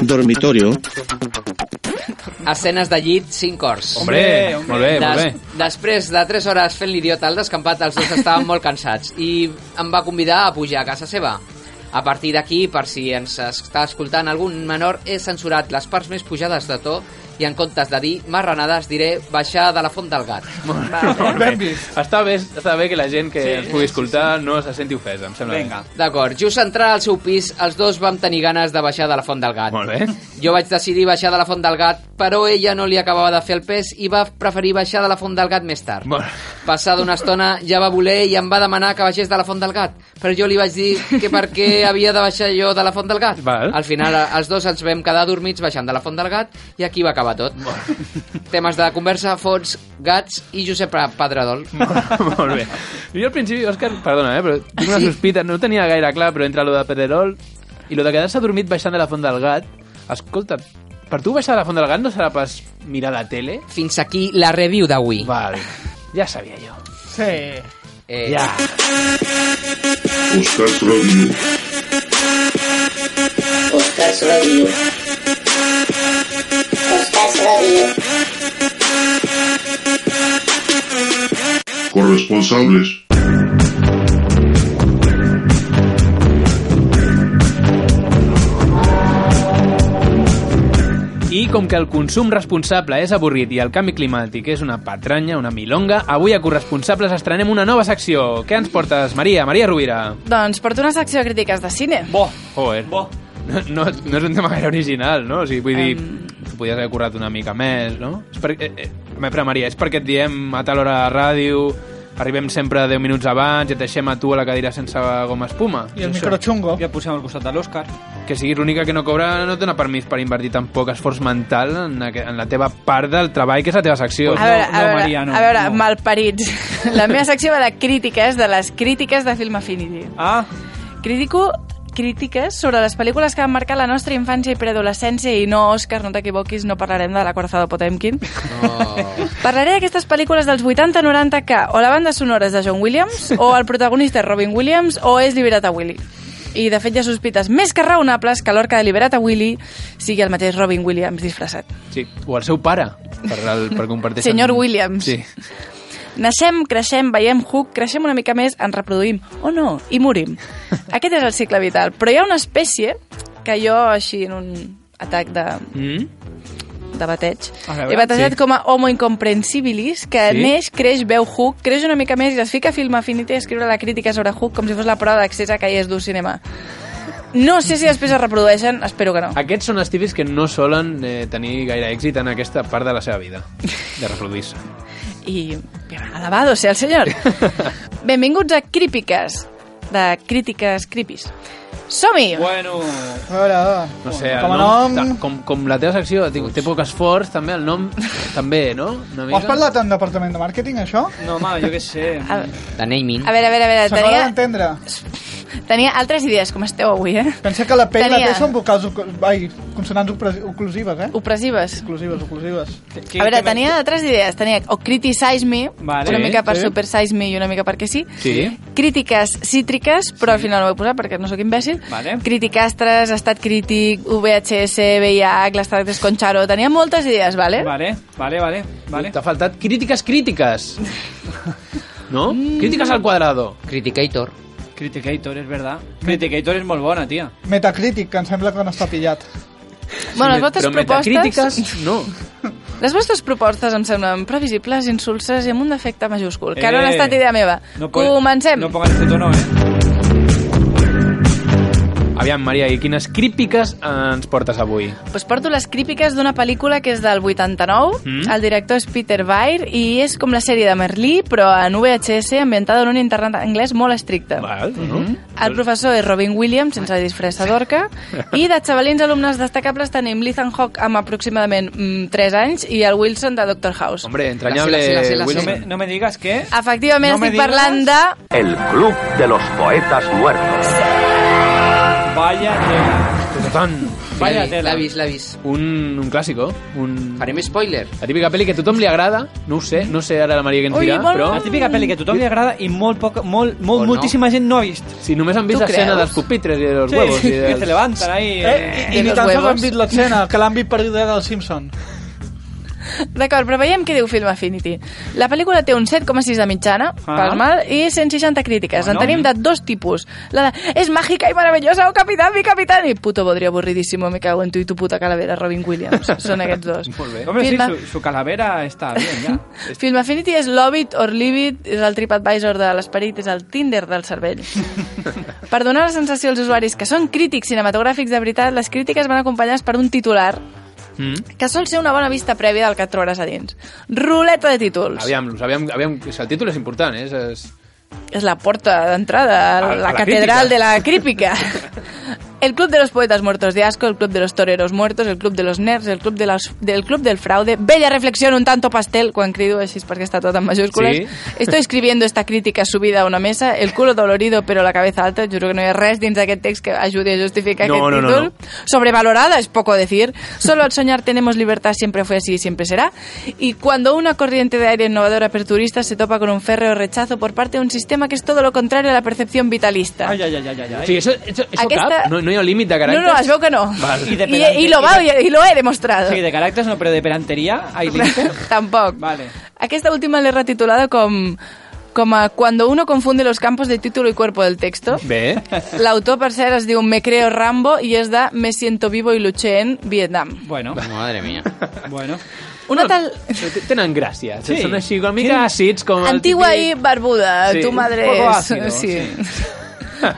[SPEAKER 17] Dormitorio.
[SPEAKER 5] Escenes de llit, 5 cors.
[SPEAKER 17] Hombre, hombre, molt bé, molt bé.
[SPEAKER 5] Després de 3 hores fent l'idiota al descampat, els dos estaven molt cansats i em va convidar a pujar a casa seva. A partir d'aquí, per si ens està escoltant algun menor, he censurat les parts més pujades de to I en comptes de dir marranades diré baixar de la font del gat.
[SPEAKER 2] Molt
[SPEAKER 5] eh?
[SPEAKER 2] bé. Està bé, està bé que la gent que ens pugui escoltar no se senti ofesa, em sembla. bé.
[SPEAKER 5] D'acord, just entrar al seu pis, els dos vam tenir ganes de baixar de la font del gat.
[SPEAKER 2] Molt bé.
[SPEAKER 5] Jo vaig decidir baixar de la font del gat, però ella no li acabava de fer el pes i va preferir baixar de la font del gat més tard.
[SPEAKER 2] Bueno.
[SPEAKER 5] Passada una estona ja va voler i em va demanar que baixés de la font del gat, però jo li vaig dir que per què havia de baixar jo de la font del gat.
[SPEAKER 2] Val.
[SPEAKER 5] Al final eh, els dos ens vam quedar dormits baixant de la font del gat i aquí va acabar tot. Temes de conversa, fons, gats i Josep Pedradol.
[SPEAKER 2] Molt bé. Jo al principi, Òscar, perdona, eh, però tinc una sospita, no ho tenia gaire clar, però entre lo de Pedrerol i lo de quedar-se dormit baixant de la font del gat, escolta, per tu baixar de la font del gat no serà pas mirar la tele?
[SPEAKER 5] Fins aquí la review d'avui.
[SPEAKER 2] Val, ja sabia jo.
[SPEAKER 6] Sí.
[SPEAKER 5] Eh,
[SPEAKER 2] ja.
[SPEAKER 16] Oscar Review.
[SPEAKER 1] Oscars Radio. Oscars Radio.
[SPEAKER 16] Corresponsables.
[SPEAKER 2] I com que el consum responsable és avorrit i el canvi climàtic és una patranya, una milonga, avui a Corresponsables estrenem una nova secció. Què ens portes, Maria? Maria Rovira.
[SPEAKER 7] Doncs porto una secció de crítiques de cine.
[SPEAKER 2] Bo. Joder. Bo. No, no, no és un tema gaire original, no? O sigui, vull dir, um... podies haver currat una mica més, no? És per, eh, eh, però, Maria, és perquè et diem a tal hora a la ràdio, arribem sempre 10 minuts abans i et deixem a tu a la cadira sense goma espuma.
[SPEAKER 6] I el microchungo.
[SPEAKER 4] Ja posem al costat de l'Òscar.
[SPEAKER 2] Que siguis l'única que no cobra no et dona permís per invertir tan poc esforç mental en, aqu- en la teva part del treball, que és la teva secció.
[SPEAKER 7] a veure, a veure, a veure malparits. La meva secció va de crítiques, de les crítiques de Film Affinity.
[SPEAKER 4] Ah.
[SPEAKER 7] Critico crítiques sobre les pel·lícules que han marcat la nostra infància i preadolescència i no, Òscar, no t'equivoquis, no parlarem de la Corazada Potemkin. Parlaré d'aquestes pel·lícules dels 80-90 que o la banda sonora és de John Williams, o el protagonista és Robin Williams, o és Liberata Willy. I, de fet, ja sospites més que raonables que l'orca de Liberata Willy sigui el mateix Robin Williams disfressat.
[SPEAKER 2] Sí, o el seu pare, per, el, per compartir...
[SPEAKER 7] Senyor Williams.
[SPEAKER 2] Sí.
[SPEAKER 7] Naixem, creixem, veiem Hook, creixem una mica més, ens reproduïm, o no, i morim. Aquest és el cicle vital. Però hi ha una espècie que jo, així, en un atac de,
[SPEAKER 2] Mm?
[SPEAKER 7] de bateig,
[SPEAKER 2] A
[SPEAKER 7] he batejat sí. com a homo incomprensibilis, que
[SPEAKER 2] Sí?
[SPEAKER 7] sí? neix, creix, veu Hook, creix una mica més i es fica a Film Affinity a escriure la crítica sobre Hook com si fos la prova d'accés a calles d'un cinema. No sé si després es reprodueixen, espero que no.
[SPEAKER 2] Aquests són els típics que no solen eh, tenir gaire èxit en aquesta part de la seva vida, de reproduir-se.
[SPEAKER 7] i bien, alabado sea el senyor. Benvinguts a Crípiques, de Crítiques Creepies. Som-hi!
[SPEAKER 4] Bueno...
[SPEAKER 6] A veure, va.
[SPEAKER 2] No sé,
[SPEAKER 6] Com a
[SPEAKER 2] el nom,
[SPEAKER 6] nom-
[SPEAKER 2] ta- com, com la teva secció, dic, té poc esforç, també el nom, també, no? Una
[SPEAKER 6] Ho has parlat en departament de màrqueting, això?
[SPEAKER 4] No, home, jo què sé.
[SPEAKER 7] A,
[SPEAKER 5] De naming.
[SPEAKER 7] a veure, a veure, a veure,
[SPEAKER 6] S'acaba
[SPEAKER 7] tenia,
[SPEAKER 6] d'entendre.
[SPEAKER 7] tenia altres idees, com esteu avui, eh?
[SPEAKER 6] Pensa que la P i la T
[SPEAKER 7] Tenia-
[SPEAKER 6] són vocals... oc- Ai, consonants ocre- oclusives, eh?
[SPEAKER 7] Opressives.
[SPEAKER 6] Oclusives, oclusives.
[SPEAKER 7] A veure, tenia altres idees. Tenia o Criticize Me,
[SPEAKER 6] Vale.
[SPEAKER 7] una
[SPEAKER 6] Sí,
[SPEAKER 7] mica per
[SPEAKER 6] sí.
[SPEAKER 7] Super Size Me i una mica perquè sí.
[SPEAKER 2] Sí.
[SPEAKER 7] Crítiques cítriques, però al final ho he posat perquè no sóc imbècil.
[SPEAKER 4] Vale.
[SPEAKER 7] Criticastres, estat crític, VHS, VIH, les tractes con Charo... Tenia moltes idees, vale?
[SPEAKER 4] Vale, vale, vale. vale.
[SPEAKER 2] T'ha faltat crítiques crítiques. No? Mm. Crítiques al quadrado.
[SPEAKER 5] Criticator.
[SPEAKER 4] Criticator, és verdad. Criticator és molt bona, tia.
[SPEAKER 6] Metacrític, que em sembla que no està pillat.
[SPEAKER 7] Bueno, les vostres propostes...
[SPEAKER 2] no.
[SPEAKER 7] Les vostres propostes em semblen previsibles, insulses i amb un defecte majúscul, que no
[SPEAKER 4] Eh,
[SPEAKER 7] han estat idea meva.
[SPEAKER 4] no pot-
[SPEAKER 7] Comencem!
[SPEAKER 4] No pongas este tono, eh?
[SPEAKER 2] Aviam, Maria, i quines crítiques ens portes avui?
[SPEAKER 7] Pues porto les crítiques d'una pel·lícula que és del 89.
[SPEAKER 2] Mm.
[SPEAKER 7] Mm? El director és Peter Weir i és com la sèrie de Merlí, però en VHS ambientada en un internat anglès molt estricte. Mhm.
[SPEAKER 2] Val, no?
[SPEAKER 7] El professor és Robin Williams, sense disfressa d'orca, i de xavalins alumnes destacables tenim l'Ethan Hawke amb aproximadament mm, 3 anys i el Wilson de Doctor House.
[SPEAKER 2] Hombre, entrañable
[SPEAKER 4] No
[SPEAKER 2] Wilson.
[SPEAKER 4] me, no me digas que...
[SPEAKER 7] Ah, Efectivament,
[SPEAKER 4] No me
[SPEAKER 7] estic
[SPEAKER 4] digues.
[SPEAKER 7] parlant de...
[SPEAKER 18] El Club de los Poetas Muertos.
[SPEAKER 4] Vaya tela. Vaya
[SPEAKER 5] Sí,
[SPEAKER 4] tela.
[SPEAKER 5] L'ha vist, l'ha vist.
[SPEAKER 2] Un, un clàssico. Un...
[SPEAKER 5] Farem spoiler.
[SPEAKER 2] La típica pel·li que a tothom li agrada, no ho sé, no sé ara la Maria què ens
[SPEAKER 4] Ui,
[SPEAKER 2] dirà,
[SPEAKER 4] molt
[SPEAKER 2] però...
[SPEAKER 4] bona. La típica pel·li que a tothom li agrada i molt poca, molt, molt,
[SPEAKER 2] O
[SPEAKER 7] Pues
[SPEAKER 2] no.
[SPEAKER 4] moltíssima gent no ha vist.
[SPEAKER 2] Si només han vist
[SPEAKER 4] Tu
[SPEAKER 2] l'escena
[SPEAKER 4] creus?
[SPEAKER 2] dels pupitres i dels
[SPEAKER 4] Sí,
[SPEAKER 2] huevos. I
[SPEAKER 4] que se levantan ahí. eh,
[SPEAKER 6] Eh, I, i ni tan sols han vist l'escena, que l'han vist per darrere del Simpson.
[SPEAKER 7] D'acord, però veiem què diu Film Affinity. La pel·lícula té un 7,6 de mitjana,
[SPEAKER 19] Ah.
[SPEAKER 7] pel mal, i 160 crítiques.
[SPEAKER 19] Bueno.
[SPEAKER 7] En tenim de dos tipus. La de, és màgica i meravellosa, oh capitán, mi capitán! I puto bodrio avorridísimo, me cago en tu i tu puta calavera, Robin Williams. Són aquests dos.
[SPEAKER 4] Molt bé. Home, sí,
[SPEAKER 7] Filma-
[SPEAKER 4] su, su calavera està bé, ja.
[SPEAKER 7] Film Affinity és Love It or Leave It, és el TripAdvisor de l'esperit, és el Tinder del cervell. per donar la sensació als usuaris que són crítics cinematogràfics de veritat, les crítiques van acompanyades per un titular
[SPEAKER 2] Mm?
[SPEAKER 7] que sol ser una bona vista prèvia del que et trobaràs a dins. Ruleta de títols.
[SPEAKER 2] Aviam, aviam, aviam, és que el títol és important, eh? és... és...
[SPEAKER 7] És la porta d'entrada a
[SPEAKER 2] A-
[SPEAKER 7] la,
[SPEAKER 2] a la
[SPEAKER 7] catedral
[SPEAKER 2] crítica.
[SPEAKER 7] de la crítica. El Club de los Poetas Muertos de Asco, el Club de los Toreros Muertos, el Club de los Nerds, el Club, de los, del Club del Fraude, Bella Reflexión, un tanto pastel, quan crido així és perquè està tot en majúscules.
[SPEAKER 19] Sí.
[SPEAKER 7] Estoy escribiendo esta crítica subida a una mesa, el culo dolorido però la cabeza alta, juro que no hi ha res dins d'aquest text que ajudi a justificar
[SPEAKER 19] No,
[SPEAKER 7] aquest
[SPEAKER 19] no, no,
[SPEAKER 7] títol.
[SPEAKER 19] no.
[SPEAKER 7] Sobrevalorada, es poco decir. Solo al soñar tenemos libertad, siempre fue así y siempre será. Y cuando una corriente de aire innovadora aperturista se topa con un férreo rechazo por parte de un sistema que es todo lo contrario a la percepción vitalista.
[SPEAKER 4] Ai, ai, ai, ai, ai.
[SPEAKER 2] O sigui, això, això, això
[SPEAKER 7] Aquesta-
[SPEAKER 2] cap? No, no hi ha límit de
[SPEAKER 7] no,
[SPEAKER 2] caràcters?
[SPEAKER 7] no, es veu que no.
[SPEAKER 2] Val.
[SPEAKER 7] Y, y lo va, y, y lo he demostrado.
[SPEAKER 4] Sí, de caràcters no, però de pedanteria hay límite.
[SPEAKER 7] Tampoco.
[SPEAKER 4] Vale.
[SPEAKER 7] Aquesta última l'he retitulada com... Com a cuando uno confunde los campos de título y cuerpo del texto.
[SPEAKER 2] Bé.
[SPEAKER 7] L'autor, per cert, es diu Me creo Rambo i és de Me siento vivo y luché en Vietnam.
[SPEAKER 4] Bueno.
[SPEAKER 5] Madre mía.
[SPEAKER 4] Bueno.
[SPEAKER 7] Una tal...
[SPEAKER 2] Tenen gràcia.
[SPEAKER 7] Sí.
[SPEAKER 2] Sí. Són així una mica àcids, com el
[SPEAKER 7] Antigua y barbuda,
[SPEAKER 2] Sí,
[SPEAKER 7] tu
[SPEAKER 2] un
[SPEAKER 7] madre
[SPEAKER 2] poco
[SPEAKER 7] es-
[SPEAKER 2] ácido,
[SPEAKER 7] sí.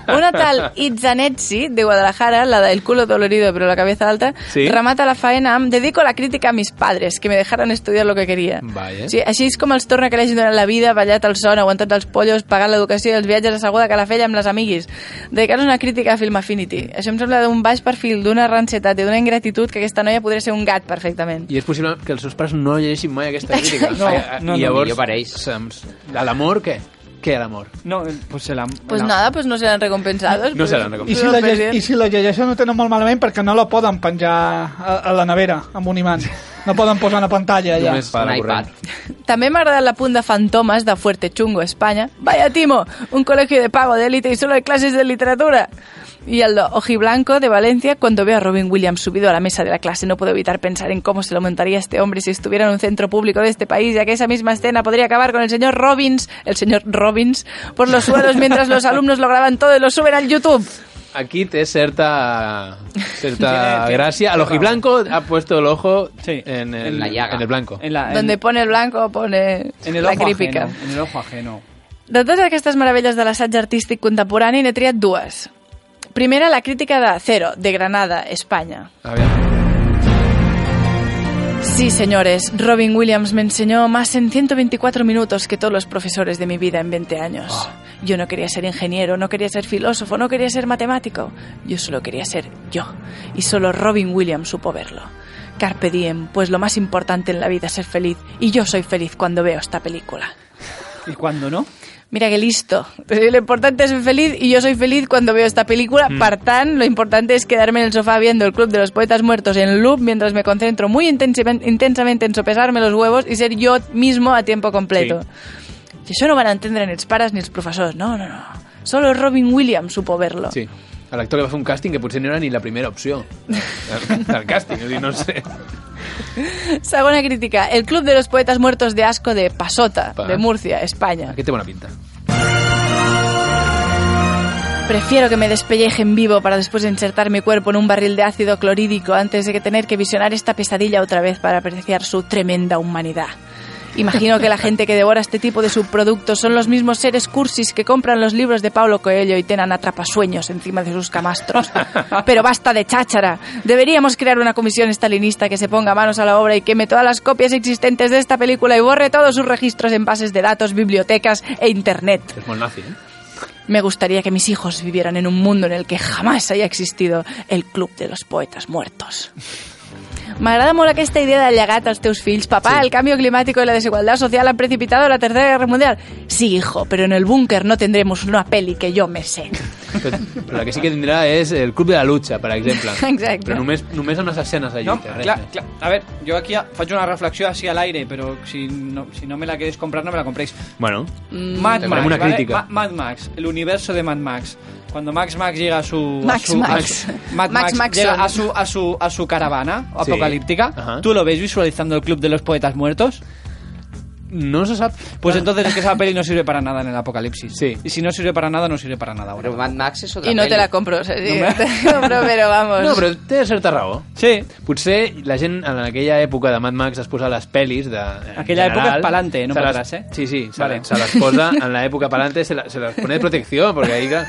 [SPEAKER 7] Una tal Itzanetsi, de Guadalajara, la del culo dolorido pero la cabeza alta,
[SPEAKER 19] Sí.
[SPEAKER 7] remata la faena amb Dedico la crítica a mis padres, que me dejaron estudiar lo que quería.
[SPEAKER 19] Vaya.
[SPEAKER 7] Sí, així és com els torna que l'hagin donat la vida, ballat el son, aguantat els pollos, pagat l'educació i els viatges a Saguda, Calafella amb les amiguis. Dedicar una crítica a Film Affinity. Això em sembla d'un baix perfil, d'una rancietat i d'una ingratitud que aquesta noia podria ser un gat perfectament.
[SPEAKER 2] I és possible que els seus pares no llegeixin mai aquesta crítica.
[SPEAKER 7] No,
[SPEAKER 4] no, no.
[SPEAKER 2] I llavors,
[SPEAKER 4] Millor per
[SPEAKER 2] se'ns- A l'amor, què? Què a l'amor?
[SPEAKER 4] No, pues el amor...
[SPEAKER 7] Pues nada, pues no seran recompensados.
[SPEAKER 2] No seran
[SPEAKER 6] I si,
[SPEAKER 2] recompensados.
[SPEAKER 6] la llegeix, I si la llegeixen ho tenen molt malament perquè no la poden penjar a, a la nevera amb un imant. No poden posar una pantalla allà.
[SPEAKER 2] Només per la corrent.
[SPEAKER 7] També m'ha agradat l'apunt de Fantomas de Fuerte Chungo, Espanya. Vaya Timo, un colegio de pago de élite y solo hay clases de literatura. Y el de Ojiblanco de Valencia, cuando veo a Robin Williams subido a la mesa de la clase, no puedo evitar pensar en cómo se lo montaría este hombre si estuviera en un centro público de este país, ya que esa misma escena podría acabar con el señor Robbins, el señor Robbins, por los suelos mientras los alumnos lo graban todo y lo suben al YouTube.
[SPEAKER 2] Aquí té certa,
[SPEAKER 7] Tiene-
[SPEAKER 2] certa
[SPEAKER 7] tiene-
[SPEAKER 2] gracia. Al ojiblanco ha puesto el ojo en, el,
[SPEAKER 4] En la llaga.
[SPEAKER 2] en el blanco.
[SPEAKER 4] Ah, En la,
[SPEAKER 7] Donde pone el blanco, pone
[SPEAKER 4] en el
[SPEAKER 7] la
[SPEAKER 4] ojo
[SPEAKER 7] crítica.
[SPEAKER 4] ajeno. En el ojo ajeno.
[SPEAKER 7] De totes aquestes meravelles de l'assaig artístic contemporani n'he triat dues. Primera, la crítica de Cero, de Granada, Espanya. Sí, señores, Robin Williams me enseñó más en 124 minutos que todos los profesores de mi vida en 20 años. Yo no quería ser ingeniero, no quería ser filósofo, no quería ser matemático. Yo solo quería ser yo. Y solo Robin Williams supo verlo. Carpe diem, pues lo más importante en la vida es ser feliz. Y yo soy feliz cuando veo esta película.
[SPEAKER 4] ¿Y cuándo no?
[SPEAKER 7] Mira qué listo. Lo importante es ser feliz y yo soy feliz cuando veo esta película.
[SPEAKER 19] Mm.
[SPEAKER 7] Partán, lo importante es quedarme en el sofá viendo el Club de los Poetas Muertos en loop mientras me concentro muy intensiven- intensamente en sopesarme los huevos y ser yo mismo a tiempo completo. I això no van entendre ni els pares ni els professors. No, no, no. Solo Robin Williams supo verlo.
[SPEAKER 2] Sí. A l'actor que va fer un càsting que potser no era ni la primera opció del del càsting, és a dir, no sé.
[SPEAKER 7] Segona crítica. El Club de los Poetas Muertos de Asco de Pasota,
[SPEAKER 2] Pa.
[SPEAKER 7] de Murcia, España.
[SPEAKER 2] Aquest té bona pinta.
[SPEAKER 7] Prefiero que me despellejen vivo para después insertar mi cuerpo en un barril de ácido clorhídrico antes de que tener que visionar esta pesadilla otra vez para apreciar su tremenda humanidad. Imagino que la gente que devora este tipo de subproductos son los mismos seres cursis que compran los libros de Paulo Coelho y tenan atrapasueños encima de sus camastros. Pero basta de cháchara. Deberíamos crear una comisión estalinista que se ponga manos a la obra y queme todas las copias existentes de esta película y borre todos sus registros en bases de datos, bibliotecas e internet.
[SPEAKER 2] És molt nazi, eh?
[SPEAKER 7] Me gustaría que mis hijos vivieran en un mundo en el que jamás haya existido el Club de los Poetas Muertos. M'agrada molt aquesta idea de llegat als teus fills. Papá, el cambio climático y la desigualdad social han precipitado la Tercera Guerra Mundial. Sí, hijo, pero en el búnker no tendremos una peli que yo me sé.
[SPEAKER 2] Però, però el que sí que tindrà és el Club de la Lucha, per exemple.
[SPEAKER 7] Exacte.
[SPEAKER 2] Però només, només amb les escenes de
[SPEAKER 4] No,
[SPEAKER 2] lluita. res
[SPEAKER 4] clar,
[SPEAKER 2] més.
[SPEAKER 4] clar. A ver, yo aquí faig una reflexión así al aire, pero si no, si no me la queréis comprar, no me la compréis.
[SPEAKER 2] Bueno,
[SPEAKER 4] Mad
[SPEAKER 2] Mm, te
[SPEAKER 4] Max,
[SPEAKER 2] farem una
[SPEAKER 4] ¿vale?
[SPEAKER 2] crítica.
[SPEAKER 4] Ma- Mad Max, el universo de Mad Max. Cuando Max Max llega a su... a
[SPEAKER 7] Max
[SPEAKER 4] su- a
[SPEAKER 7] Max.
[SPEAKER 4] su- Mad
[SPEAKER 7] Max
[SPEAKER 4] Max,
[SPEAKER 7] Maxson.
[SPEAKER 4] llega a su, a su, a su caravana
[SPEAKER 2] Sí.
[SPEAKER 4] apocalíptica.
[SPEAKER 2] Ajá.
[SPEAKER 4] ¿Tú lo ves visualizando el club de los poetas muertos?
[SPEAKER 2] No se sabe.
[SPEAKER 4] Pues entonces es que esa peli no sirve para nada en el apocalipsis.
[SPEAKER 2] Sí.
[SPEAKER 4] Y si no sirve para nada, no sirve para nada ahora. Pero
[SPEAKER 5] Mad Max es
[SPEAKER 7] Y no te la compro, o sea,
[SPEAKER 4] No
[SPEAKER 7] sí,
[SPEAKER 4] me-
[SPEAKER 7] no te la compro, pero vamos.
[SPEAKER 2] No, però té certa
[SPEAKER 4] doncs-
[SPEAKER 2] raó.
[SPEAKER 4] Sí.
[SPEAKER 2] Potser la gent en aquella època de Mad Max es posa les pel·lis de... en
[SPEAKER 4] Aquella
[SPEAKER 2] general,
[SPEAKER 4] època és pa'lante, no
[SPEAKER 2] se les-
[SPEAKER 4] pa'trás, eh?
[SPEAKER 2] Sí, sí, se,
[SPEAKER 4] Vale.
[SPEAKER 2] vale. se les posa en l'època pa'lante, se, la, se les pone de protecció, perquè ahí que...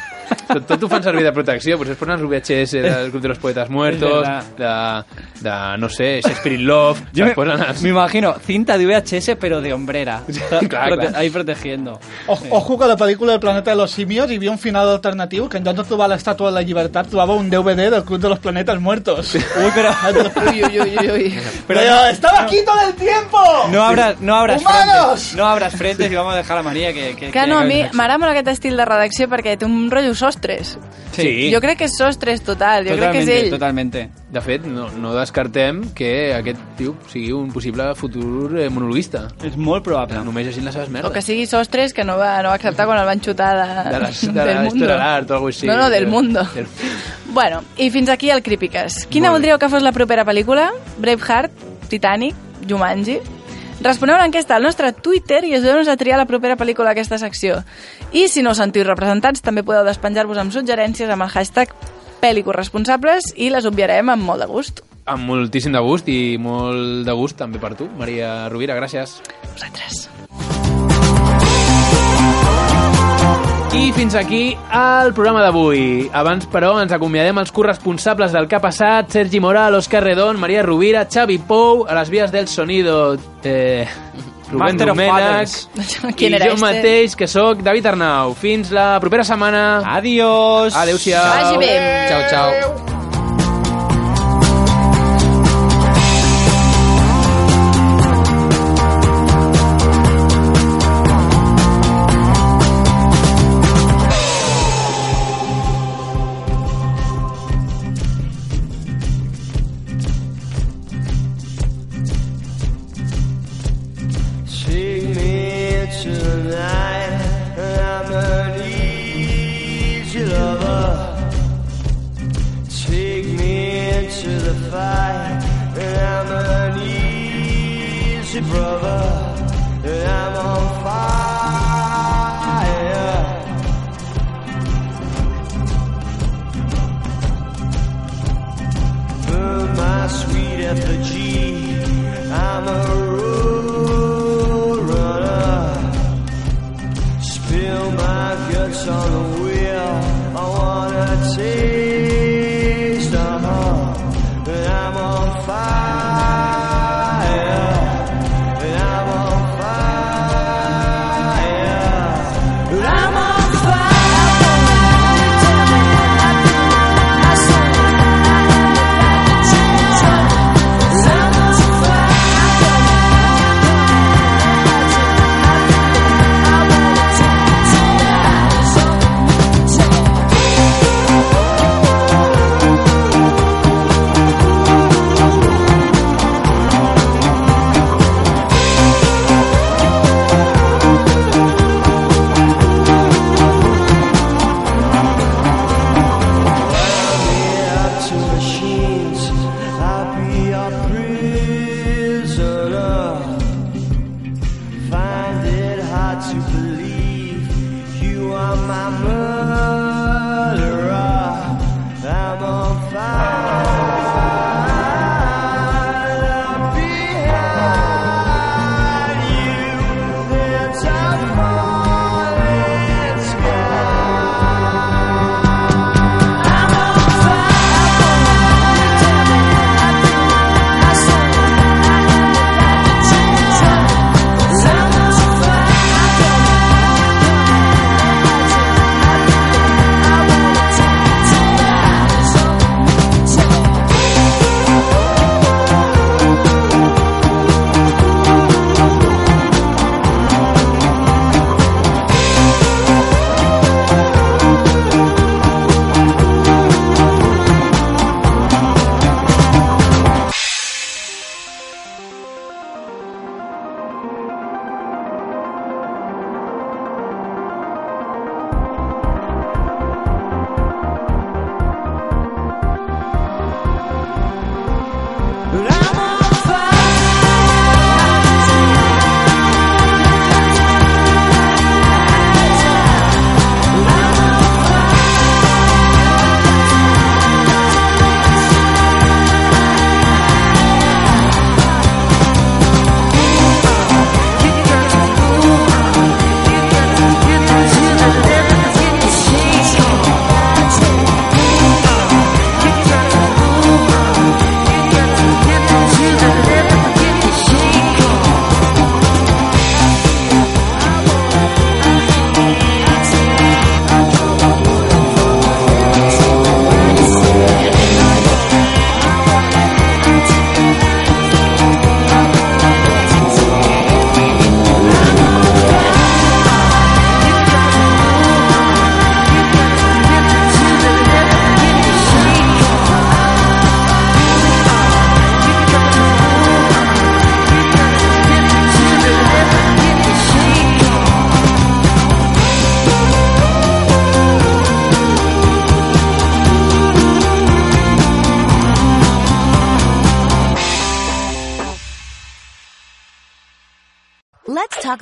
[SPEAKER 2] Tot, tot ho fan servir de protecció, potser es posen els VHS del Club de los Poetas Muertos,
[SPEAKER 4] És
[SPEAKER 2] de, de, no sé, Shakespeare in Love, se
[SPEAKER 4] me,
[SPEAKER 2] les posen...
[SPEAKER 4] me imagino cinta de VHS, pero de hombrera.
[SPEAKER 2] claro, claro.
[SPEAKER 4] Ahí protegiendo.
[SPEAKER 6] O, ojo que a la pel·lícula del Planeta de los Simios hi havia un final alternatiu que en lloc de trobar l'estàtua de la llibertat trobava un DVD del Club de los Planetes Muertos. Uy,
[SPEAKER 4] pero...
[SPEAKER 6] uy, uy, uy, uy.
[SPEAKER 4] Pero-
[SPEAKER 6] Pero yo, ¡Estaba aquí todo el tiempo!
[SPEAKER 4] No abras, no abras
[SPEAKER 6] ¡Humanos!
[SPEAKER 4] frentes. No abras frentes y vamos a dejar a María que... que
[SPEAKER 7] Que no, a mi
[SPEAKER 4] que-
[SPEAKER 7] m'agrada molt aquest estil de redacció perquè té un rotllo sostres.
[SPEAKER 2] Sí.
[SPEAKER 7] Jo crec que és sostres total, jo crec que és ell.
[SPEAKER 4] Totalmente.
[SPEAKER 2] De fet, no, no descartem que aquest tio sigui un possible futur eh, monologuista.
[SPEAKER 4] És molt probable.
[SPEAKER 2] Només llegint les seves
[SPEAKER 7] O que
[SPEAKER 2] merdes.
[SPEAKER 7] sigui sostres que no va, no va acceptar quan el van xutar de,
[SPEAKER 2] De les, de
[SPEAKER 7] del
[SPEAKER 2] la
[SPEAKER 7] mundo.
[SPEAKER 2] història de l'art o alguna cosa així.
[SPEAKER 7] No, no, del
[SPEAKER 2] Era-
[SPEAKER 7] mundo.
[SPEAKER 2] Era-
[SPEAKER 7] Bueno, i fins aquí el Crípiques. Quina
[SPEAKER 2] Molt bé.
[SPEAKER 7] voldríeu que fos la propera pel·lícula? Braveheart, Titanic, Jumanji... Responeu l'enquesta al nostre Twitter i ajudeu-nos a triar la propera pel·lícula d'aquesta secció. I si no us sentiu representats, també podeu despenjar-vos amb suggerències amb el hashtag pel·licorresponsables i les obviarem amb molt de gust.
[SPEAKER 2] Amb moltíssim de gust i molt de gust també per tu, Maria Rovira, gràcies.
[SPEAKER 7] Vosaltres.
[SPEAKER 2] I fins aquí el programa d'avui. Abans, però, ens acomiadem els corresponsables del que ha passat, Sergi Moral, Òscar Redon, Maria Rovira, Xavi Pou, a les vies del sonido, eh, Rubén
[SPEAKER 4] Master of
[SPEAKER 2] Domènech,
[SPEAKER 4] Puzzles.
[SPEAKER 7] Quin
[SPEAKER 2] i
[SPEAKER 7] era
[SPEAKER 2] jo
[SPEAKER 7] este?
[SPEAKER 2] mateix, que sóc David Arnau. Fins la propera setmana.
[SPEAKER 4] Adiós.
[SPEAKER 2] Adéu-siau.
[SPEAKER 7] Que vagi bé.
[SPEAKER 5] Chao, chao.
[SPEAKER 19] Take me tonight, I'm an easy lover. Take me into the fight, I'm an easy brother. I'm on fire. Burn my sweet effigy, I'm a road runner. Spill my guts on the wheel. I wanna taste the heart, and I'm on fire, and I'm on fire.
[SPEAKER 20] talk